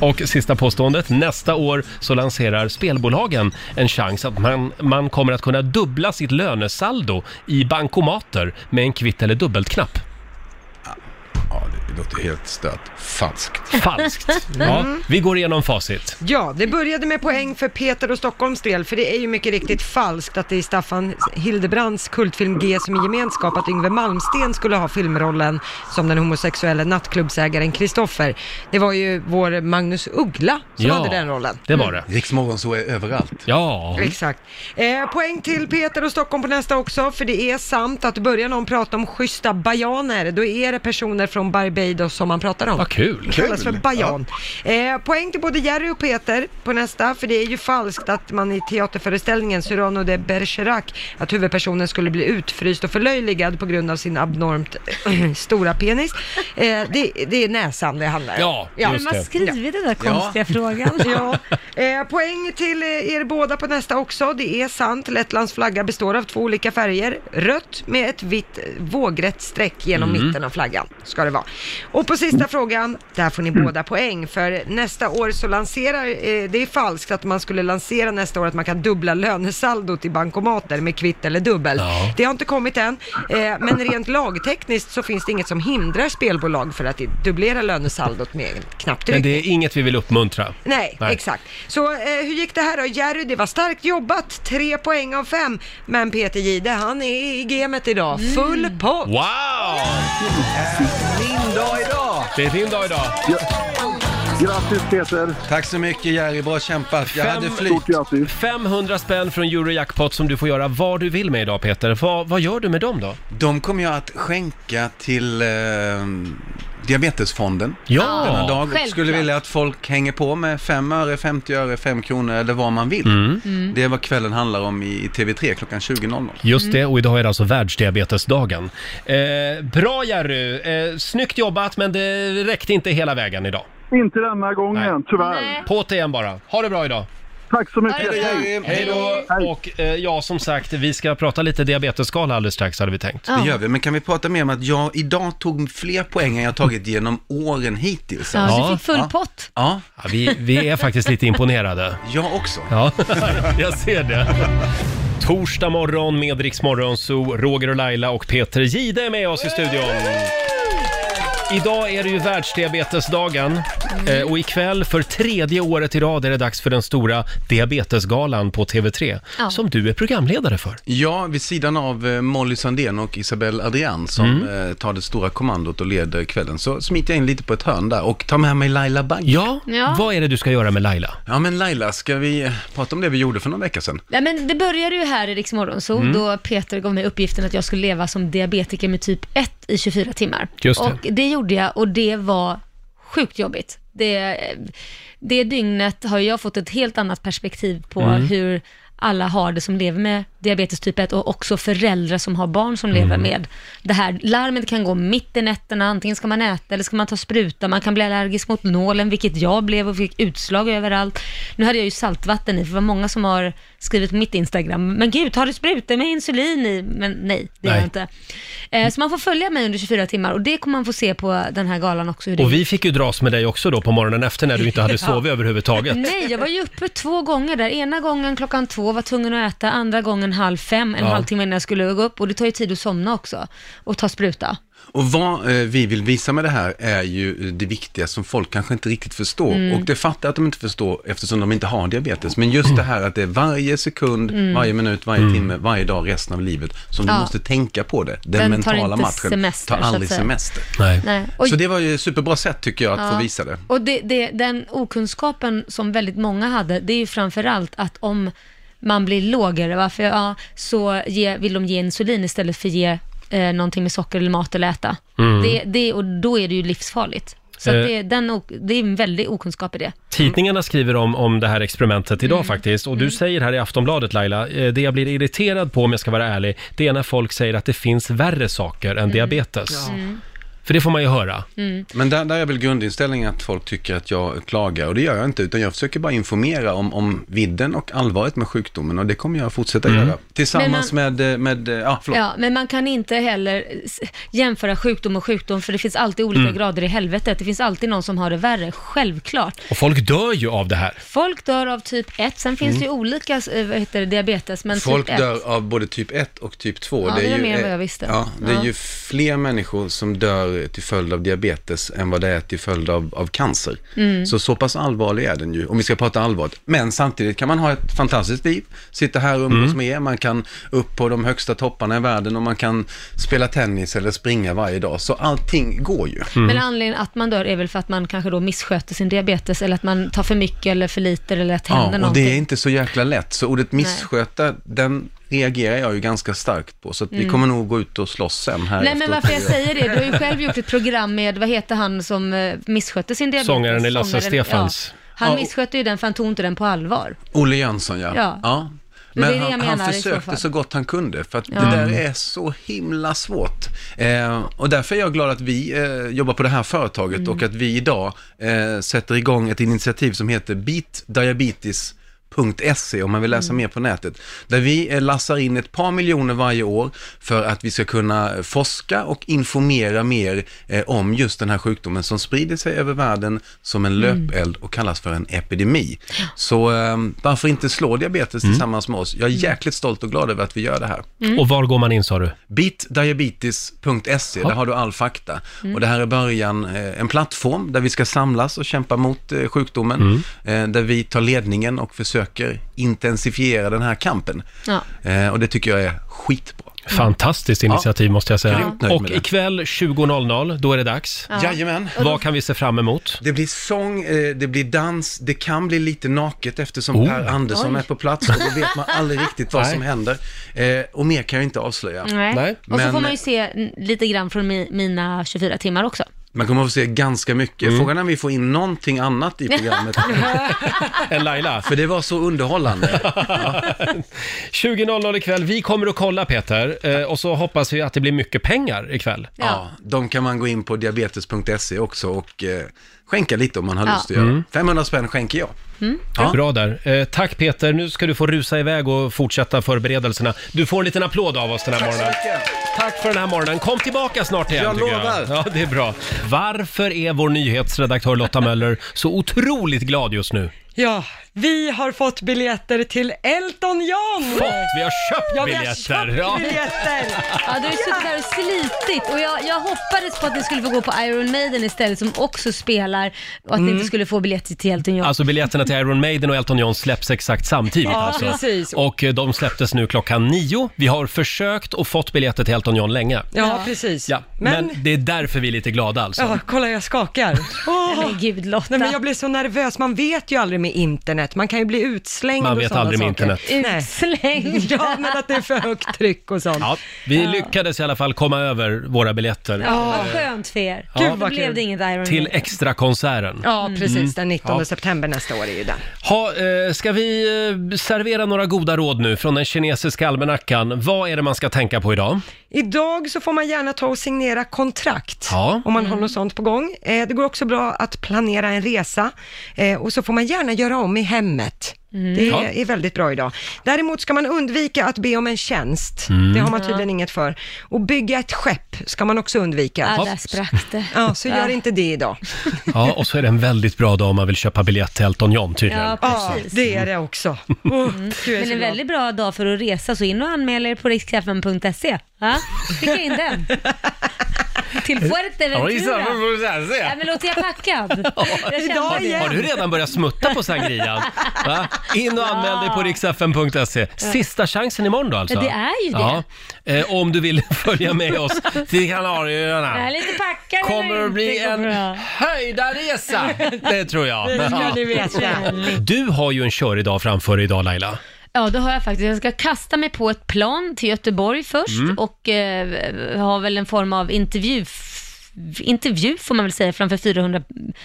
A: Och sista påståendet, nästa år så lanserar spelbolagen en chans att man, man kommer att kunna dubbla sitt lönesaldo i bankomater med en kvitt eller dubbeltknapp.
I: Det låter helt stört. Falskt.
A: Falskt. Ja,
C: Mm.
A: vi går igenom facit.
C: Ja, det började med poäng för Peter och Stockholms del, för det är ju mycket riktigt falskt att det i Staffan Hildebrands kultfilm G som i gemenskap att Yngve Malmsten skulle ha filmrollen som den homosexuella nattklubbsägaren Kristoffer. Det var ju vår Magnus Uggla som hade den rollen.
A: det var det.
I: Mm. Riksmorgon så är överallt.
A: Ja.
C: Exakt. Eh, poäng till Peter och Stockholm på nästa också, för det är sant att börjar någon prata om schyssta bajaner, då är det personer från Barbados som man pratar om.
A: Vad kul.
C: Det kallas för
A: Kul.
C: bajan. Eh, poäng till både Jerry och Peter på nästa, för det är ju falskt att man i teaterföreställningen Cyrano de Bergerac, att huvudpersonen skulle bli utfryst och förlöjligad på grund av sin abnormt stora penis. Eh, det, det är näsan det handlar om.
B: Ja, just Men man det. skriver den där konstiga frågan.
C: Ja. Eh, poäng till eh, er båda på nästa också. Det är sant, Lettlands flagga består av två olika färger. Rött med ett vitt eh, vågrätt streck genom
Q: Mm.
C: mitten av flaggan, ska det vara. Och på sista frågan, där får ni båda poäng, för nästa år så lanserar, eh, det är falskt att man skulle lansera nästa år att man kan dubbla lönesaldot i bankomater med kvitt eller dubbel.
Q: Ja.
C: Det har inte kommit än, eh, men rent lagtekniskt så finns det inget som hindrar spelbolag för att dubblera lönesaldot med en knapptryckning.
A: Men det är inget vi vill uppmuntra.
C: Nej, exakt. Så eh, hur gick det här då? Jerry, det var starkt jobbat. Tre poäng av fem. Men Peter Gide, han är i gamet idag. Full pott!
A: Wow!
I: Min dag idag!
A: Det är din dag idag.
N: Grattis Peter!
I: Tack så mycket Jerry, bra kämpat. Jag hade flyt.
A: 500 spänn från Eurojackpot som du får göra vad du vill med idag Peter. Vad, vad gör du med dem då?
I: De kommer jag att skänka till eh, Diabetesfonden
A: Ja,
I: denna dag.
A: självklart.
I: Och skulle vilja att folk hänger på med 5 öre, 50 öre, 5 kronor eller vad man vill.
A: Mm. Mm.
I: Det är vad kvällen handlar om i i TV3 klockan 20.00.
A: Just
I: Mm.
A: det, och idag är det alltså världsdiabetesdagen. Eh, bra Jerry, eh, snyggt jobbat men det räckte inte hela vägen idag.
N: Inte denna gången, tyvärr.
A: På igen bara. Ha det bra idag.
I: Tack så mycket.
A: Hej då! Och eh, ja, som sagt, vi ska prata lite diabetesskala alldeles strax hade vi tänkt.
F: Det gör vi, men kan vi prata mer om att jag idag tog fler poäng än jag tagit genom åren hittills?
B: Ja,
F: alltså.
B: du fick full pott.
F: Ja.
A: Ja, vi, vi är faktiskt lite imponerade.
F: Jag också.
A: Ja, jag ser det. Torsdag morgon med Rix Morgon, så Roger och Laila och Peter Gide är med oss i studion. Idag är det ju världsdiabetesdagen eh, och ikväll för tredje året i rad är det dags för den stora diabetesgalan på TV3
F: Ja.
A: som du är programledare för.
F: Ja, vid sidan av eh, Molly Sandén och Isabelle Adrian som
A: Mm.
F: eh, tar det stora kommandot och leder kvällen så smiter jag in lite på ett hörn där och tar med mig Laila Bagge.
A: Ja,
B: Ja.
A: vad är det du ska göra med Laila?
F: Ja, men Laila, ska vi eh, prata om det vi gjorde för någon vecka sedan?
B: Nej, men det började ju här i Rix Morgonzoo
F: Mm.
B: då Peter gav mig uppgiften att jag skulle leva som diabetiker med typ 1 i 24 timmar.
G: Just det.
B: Och det gjorde jag och det var sjukt jobbigt. Det, det dygnet har jag fått ett helt annat perspektiv på
G: Mm.
B: hur alla har det som lever med diabetes typ 1 och också föräldrar som har barn som
G: Mm.
B: lever med det här. Larmet kan gå mitt i nätterna, antingen ska man äta eller ska man ta spruta, man kan bli allergisk mot nålen, vilket jag blev och fick utslag överallt. Nu hade jag ju saltvatten i, för det var många som har skrivit på mitt Instagram, men gud, har du sprutor med insulin i? Men nej, det har
A: Nej.
B: jag inte. Eh, Så man får följa mig under 24 timmar och det kommer man få se på den här galan också. hur det
A: Och
B: gick.
A: vi fick ju dras med dig också då på morgonen efter när du inte hade
B: Ja.
A: sovit överhuvudtaget.
B: Nej, jag var ju uppe två gånger där. Ena gången klockan två var tvungen att äta, andra gången halv fem, en
F: Ja.
B: halvtimme innan jag skulle gå upp. Och det tar ju tid att somna också och ta spruta.
F: Och vad eh, vi vill visa med det här är ju eh, det viktiga som folk kanske inte riktigt förstår.
B: Mm.
F: Och det fattar jag att de inte förstår eftersom de inte har diabetes. Men just det här att det är varje sekund,
B: Mm.
F: varje minut, varje timme, varje dag, resten av livet som
B: Ja.
F: du måste tänka på det. Den,
B: Den tar
F: mentala
B: inte
F: matchen
B: semester,
F: tar
B: så att
F: aldrig
B: säga.
F: semester.
B: Nej. Och-
F: Så det var ju ett superbra sätt tycker jag att
B: Ja.
F: få visa det.
B: Och det, det, den okunskapen som väldigt många hade, det är ju framförallt att om man blir lågare, varför, ja, så ge, vill de ge insulin istället för ge eh, någonting med socker eller mat eller äta.
A: Mm.
B: Det, det, och då är det ju livsfarligt. Så
A: Eh.
B: att det, är den, ok- det är en väldig okunskap i det.
A: Tidningarna skriver om, om det här experimentet idag
F: Mm.
A: faktiskt och du säger här i Aftonbladet Laila, eh, det jag blir irriterad på om jag ska vara ärlig, det är när folk säger att det finns värre saker än diabetes.
B: Mm.
A: För det får man ju höra.
B: Mm.
F: Men där, där är väl grundinställningen att folk tycker att jag klagar och det gör jag inte utan jag försöker bara informera om, om vidden och allvaret med sjukdomen och det kommer jag fortsätta
B: Mm.
F: göra. Tillsammans med, eh, med, ja förlåt.
B: Ja, men man kan inte heller s- jämföra sjukdom och sjukdom, för det finns alltid olika
A: Mm.
B: grader i helvetet. Det finns alltid någon som har det värre, självklart.
A: Och folk dör ju av det här.
B: Folk dör av typ 1, sen finns
F: Mm.
B: det ju olika eh, vad heter det, diabetes, men
F: Folk
B: typ 1.
F: dör av både typ 1 och typ 2.
B: Ja, det är mer än vad jag visste.
F: Ja, det
B: Ja.
F: är ju fler människor som dör till följd av diabetes än vad det är till följd av, av cancer.
I: Mm.
F: Så så pass allvarlig är den ju, om vi ska prata allvarligt. Men samtidigt kan man ha ett fantastiskt liv, sitta här och umgås
A: Mm.
F: med er, man kan upp på de högsta topparna i världen och man kan spela tennis eller springa varje dag. Så allting går ju.
A: Mm.
B: Men anledningen att man dör är väl för att man kanske då missköter sin diabetes, eller att man tar för mycket eller för lite, eller att händer
F: Ja, och
B: någonting.
F: det är inte så jäkla lätt. Så ordet missköta, den reagerar jag ju ganska starkt på. Så att vi
B: Mm.
F: kommer nog gå ut och slåss sen här
B: Nej men
F: efteråt.
B: varför jag säger det, du har ju själv gjort ett program med, vad heter han som eh, misskötte sin diabetes?
F: Sångaren i Lasse
B: Sångaren,
F: Stefanz.
B: Ja. Han
F: Ja, och-
B: misskötte ju den för han tog inte den på allvar.
F: Olle Jönsson ja.
B: Ja. Men
F: Men
B: det är det
F: han,
B: jag
F: han
B: menar i så
F: försökte
B: fall.
F: så, gott han kunde, för att
B: Ja. Mm.
F: det där är så himla svårt. Eh, och därför är jag glad att vi eh, jobbar på det här företaget
I: Mm.
F: och att vi idag eh, sätter igång ett initiativ som heter Beat Diabetes om man vill läsa
B: Mm.
F: mer på nätet. Där vi eh, lassar in ett par miljoner varje år för att vi ska kunna eh, forska och informera mer eh, om just den här sjukdomen som sprider sig över världen som en
I: Mm.
F: löpeld och kallas för en epidemi. Så eh, varför inte slå diabetes tillsammans med oss? Jag är jäkligt stolt och glad över att vi gör det här.
A: Mm. Och var går man in sa du?
F: Beatdiabetes.se, där har du all fakta.
A: Mm.
F: Och det här är början, eh, en plattform där vi ska samlas och kämpa mot eh, sjukdomen,
A: Mm.
F: eh, där vi tar ledningen och försöker intensifiera den här kampen.
B: Ja.
F: Eh, och det tycker jag är skitbra.
A: Fantastiskt initiativ måste jag säga.
F: Grymt nöjd
A: Och
F: med det.
A: ikväll 20.00, då är det dags.
F: Ja. Jajamän.
A: Vad kan vi se fram emot?
F: Det blir sång, eh, det blir dans, det kan bli lite naket eftersom
A: Oh.
F: Per Andersson
A: Oj.
F: är på plats och då vet man aldrig riktigt vad
A: Nej.
F: som händer. Eh, och mer kan jag inte avslöja.
B: Nej. Och så
F: Men
B: får man ju se n- lite grann från mi, mina 24 timmar också.
F: man kommer att få se ganska mycket.
A: Mm.
F: Frågan är om vi får in någonting annat i programmet.
A: Än Laila.
F: För det var så underhållande.
A: 20.00 ikväll. Vi kommer att kolla Peter eh, och så hoppas vi att det blir mycket pengar ikväll.
F: Ja, de kan man gå in på diabetes.se också och eh,
I: skänka lite om man har
B: Ja.
I: lust att göra.
A: Mm.
I: 500 spänn skänker jag.
B: Mm.
A: Bra där. Eh, tack Peter, nu ska du få rusa iväg och fortsätta förberedelserna. Du får en liten applåd av oss den här
I: Tack så
A: morgonen. Tack för den här morgonen. Kom tillbaka snart igen
I: Jag
A: tycker
I: lovar.
A: Ja, det är bra. Varför är vår nyhetsredaktör Lotta Möller så otroligt glad just nu?
C: Ja, vi har fått biljetter till Elton John!
A: Fått? Vi har köpt
C: Ja, vi har
A: biljetter!
C: köpt
A: Ja.
C: biljetter.
B: Ja, du har ju suttit där och slitit och jag, jag hoppades på att ni skulle få gå på Iron Maiden istället som också spelar och att ni
A: Mm.
B: inte skulle få biljetter till Elton John.
A: Alltså biljetterna till Iron Maiden och Elton John släpps exakt samtidigt.
B: Ja,
A: alltså.
B: precis.
A: Och eh, de släpptes nu klockan nio. Vi har försökt och fått biljetter till Elton John länge.
C: Ja, precis.
A: Ja, men... det är därför vi är lite glada alltså.
C: Ja, kolla jag skakar. Åh.
B: Nej, men gud Lotta.
C: Nej, men jag blir så nervös, man vet ju aldrig med internet, man kan ju bli utslängd
A: Man
C: och
A: vet
C: sådana
A: aldrig med
C: saker.
A: internet.
C: Nej.
B: Utslängd?
C: Ja, men att det är för högt tryck och sånt.
A: Ja, vi lyckades i alla fall komma över våra biljetter.
B: Ja,
A: Eh,
B: skönt för er.
A: Ja.
B: Då blev det inget Iron
A: Till
B: Maiden.
A: extrakonserten.
C: Ja, precis.
A: Mm.
C: Den 19
A: Ja.
C: september nästa år är ju den.
A: Ha, eh, ska vi eh, servera några goda råd nu från den kinesiska almanackan? Vad är det man ska tänka på idag?
C: Idag så får man gärna ta och signera kontrakt
A: Ja.
C: om man
B: Mm.
C: har något sånt på gång. Eh, det går också bra att planera en resa eh, och så får man gärna göra om i hemmet.
B: Mm.
C: Det
A: Ja.
C: är väldigt bra idag. Däremot ska man undvika att be om en tjänst.
A: Mm.
C: Det har man
B: Ja.
C: tydligen inget för. Och bygga ett skepp ska man också undvika.
B: Ja, där sprack det.
C: Ja, så gör
B: Ja.
C: inte det idag.
A: Ja, och så är det en väldigt bra dag om man vill köpa biljett till Elton John tydligen.
C: Ja, det är det också.
B: Mm.
C: Oh, Gud, jag är
B: Men
C: så
B: en
C: glad.
B: väldigt bra dag för att resa, så in och anmäl er på riksfm.se. Ja, skicka in den. Till Fuerteventura. Ja, men låter jag packad? Jag känner det.
A: Har du redan börjat smutta på sangrian? Va? In och anmäl dig på riksfn.se. E. Sista chansen imorgon då alltså?
B: Ja, det är ju det.
A: det. Eh, om du vill följa med oss till Kanarieöarna.
B: Jag är lite packad
A: Kommer
B: eller
A: att bli
B: inte,
A: en
B: kommer
A: höjdarresa. Det tror jag.
B: Det ska ni veta.
A: Du har ju en körig dag framför dig idag Laila.
B: Ja, det har jag faktiskt. Jag ska kasta mig på ett plan till Göteborg först
A: Mm.
B: och eh, ha väl en form av intervju, intervju får man väl säga, framför 400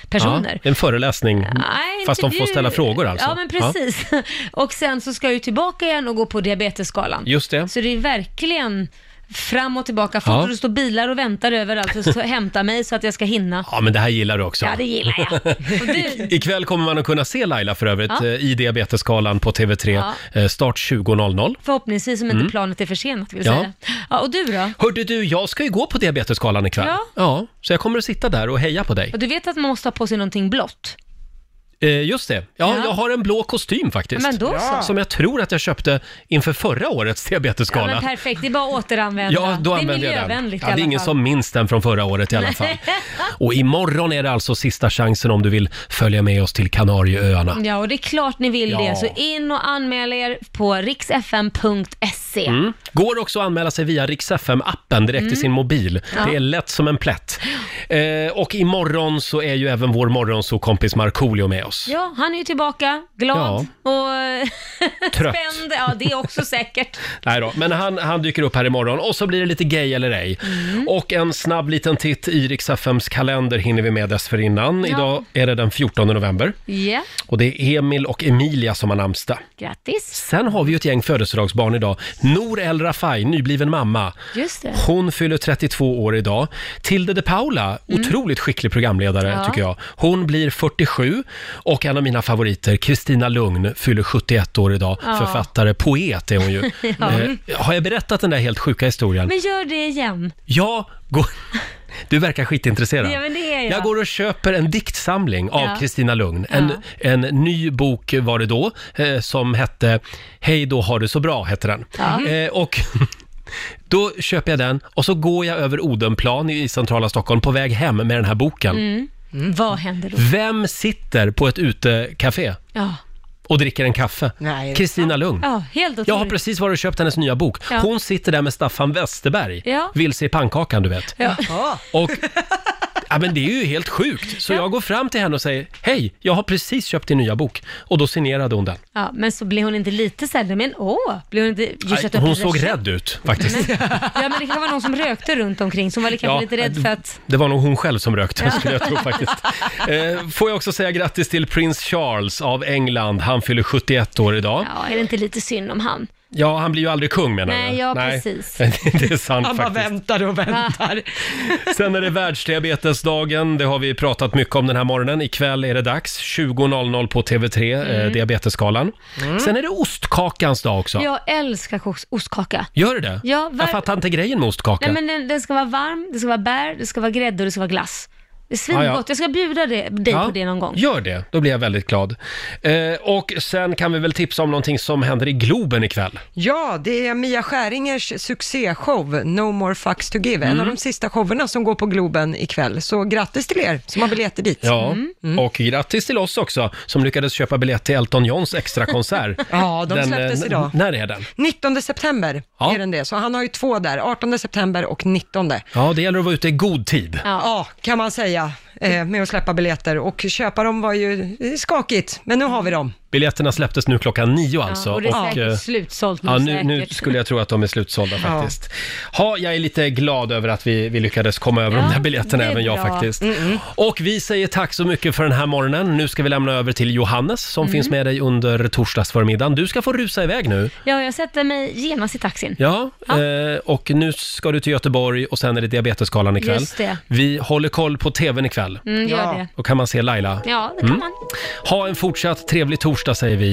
B: personer.
A: Ja, en föreläsning,
B: Nej,
A: fast de får
B: intervju-
A: ställa frågor alltså.
B: Ja, men precis. Och sen så ska jag ju tillbaka igen och gå på diabetesskalan.
A: Just det.
B: Så det är verkligen fram och tillbaka. Folk
A: Ja.
B: och det står bilar och väntar överallt och så hämtar mig så att jag ska hinna.
A: Ja, men det här gillar du också.
B: Ja, det gillar jag. Och du,
A: Ikväll kommer man att kunna se Laila för övrigt
B: Ja.
A: eh, i diabetesskalan på TV3,
B: Ja.
A: eh, start 20.00.
B: förhoppningsvis om inte
A: Mm.
B: planet är försenat, vill
A: Ja.
B: säga. Ja, och du då?
A: Hörde du, jag ska ju gå på diabetesskalan ikväll.
B: Ja.
A: så jag kommer att sitta där och heja på dig.
B: Och Du vet att man måste ha på sig någonting blått?
A: Eh, just det, ja,
B: Ja.
A: jag har en blå kostym faktiskt.
B: Men då så.
A: Som jag tror att jag köpte inför förra årets
B: Ja,
A: diabetesskala.
B: men perfekt, det är bara att återanvända.
A: Ja, då
B: det är
A: använder jag den.
B: miljövänligt
A: Ja, det är ingen som minns den från förra året i alla fall. Och imorgon är det alltså sista chansen om du vill följa med oss till Kanarieöarna.
B: Ja, och det är klart ni vill
A: Ja.
B: det. Så in och anmäl er på riksfm.se.
A: Mm. Går också att anmäla sig via Rix FM-appen direkt
B: Mm.
A: i sin mobil.
B: Ja.
A: Det är lätt som en plätt. Eh, och imorgon så är ju även vår morgonsokompis Markoolio med oss.
B: Ja, han är ju tillbaka, glad och
A: Trött.
B: spänd. Ja, det är också säkert.
A: Nej då, men han, han dyker upp här imorgon och så blir det lite gay eller ej.
B: Mm.
A: Och en snabb liten titt i Rix FMs kalender hinner vi med dessförinnan.
B: Ja.
A: Idag är det den 14 november
B: Ja,
A: och det är Emil och Emilia som har namnsdag.
B: grattis.
A: Sen har vi ju ett gäng födelsedagsbarn idag. Nour El Rafai, nybliven mamma.
B: Just det.
A: Hon fyller 32 år idag. Tilde de Paula, otroligt skicklig programledare
B: Mm. Ja.
A: tycker jag. Hon blir 47 och en av mina favoriter, Kristina Lugn, fyller 71 år idag.
B: Ja.
A: Författare, poet är hon ju.
B: Ja.
A: eh, har jag berättat den där helt sjuka historien?
B: Men gör det igen.
A: Ja, gå... Du verkar skitintresserad.
B: Ja, men det är jag.
A: Jag går och köper en diktsamling
B: Ja.
A: av Kristina Lugn. En, en ny bok var det då, eh, som hette Hej då har du så bra, hette den.
B: Ja. Mm.
A: Eh, och då köper jag den och så går jag över Odenplan i centrala Stockholm på väg hem med den här boken.
B: Mm. Vad händer då?
A: Vem sitter på ett utekafé
B: Ja,
A: och dricker en kaffe?
B: det-
A: Kristina Lugn.
B: ja helt otroligt.
A: Jag har precis varit och köpt hennes nya bok.
B: Ja.
A: Hon sitter där med Staffan Westerberg,
B: Ja.
A: Vilse i pannkakan, du vet.
B: Ja.
A: Och, ja men det är ju helt sjukt. Så jag går fram till henne och säger, hej, jag har precis köpt din nya bok. Och då signerade hon den.
B: ja, men så blir hon inte lite så här, men åh, blir hon inte...
A: Nej,
B: Just att
A: Hon
B: öppna sig-
A: såg rädd ut faktiskt.
B: Ja, men det kan vara någon som rökte runt omkring, som var kanske
A: Ja,
B: lite rädd för att...
A: Det var nog hon själv som rökte,
B: Ja.
A: skulle jag tro faktiskt. Eh, får jag också säga grattis till prins Charles av England. Han fyller 71 år idag.
B: Ja, är det inte lite synd om han?
A: Ja, han blir ju aldrig kung menar
B: Nej,
A: du?
B: ja, precis.
A: Det är sant
B: Han bara
A: faktiskt.
C: väntar och väntar.
A: Sen är det världsdiabetesdagen, det har vi pratat mycket om den här morgonen. Ikväll är det dags, 20.00 på TV3, eh,
B: Mm.
A: Diabetesgalan. Sen är det ostkakans dag också.
B: Jag älskar kos- ostkaka.
A: Gör det det?
B: Ja, var-
A: Jag fattar inte grejen med ostkaka.
B: Nej, men den, den ska vara varm, det ska vara bär, det ska vara grädde och det ska vara glass. Det är svingott.
A: Ja, ja.
B: Jag ska bjuda det, dig
A: Ja,
B: på det någon gång.
A: Gör det, då blir jag väldigt glad. Eh, och sen kan vi väl tipsa om någonting som händer i Globen ikväll.
C: Ja, det är Mia Skäringers succéshow No More Fucks To Give, en
A: Mm.
C: av de sista showerna som går på Globen ikväll. Så grattis till er som har biljetter dit. Mm.
A: Ja,
B: Mm.
A: och grattis till oss också som lyckades köpa biljett till Elton Johns extrakonsert.
C: Ja, de
A: Den,
C: släpptes
A: eh,
C: idag.
A: n- När är den?
C: 19 september
A: Ja.
C: är den det, så han har ju två där, 18 september och 19.
A: Ja, det gäller att vara ute i god tid.
C: Ja. kan man säga, eh, med att släppa biljetter. Och köpa dem var ju eh, skakigt, men nu har vi dem.
A: Biljetterna släpptes nu klockan nio alltså.
C: och det är säkert
A: eh,
B: slutsålt
A: Ja, nu, nu skulle jag tro att de är slutsålda
C: Ja.
A: faktiskt. Ha, jag är lite glad över att vi, vi lyckades komma över de där biljetterna,
B: det är
A: även jag
B: bra. Mm,
A: faktiskt. Och vi säger tack så mycket för den här morgonen. Nu ska vi lämna över till Johannes som
B: Mm.
A: finns med dig under torsdagsförmiddagen. Du ska få rusa iväg nu.
B: Ja, jag sätter mig genast i taxin.
A: Ja, Eh, och nu ska du till Göteborg och sen är det Diabetesgalan ikväll.
B: Just det.
A: Vi håller koll på TVn ikväll.
B: Mm, gör Ja. det.
A: Då kan man se Laila. Mm.
B: Ja, det kan man.
A: Ha en fortsatt trevlig torsdag säger vi.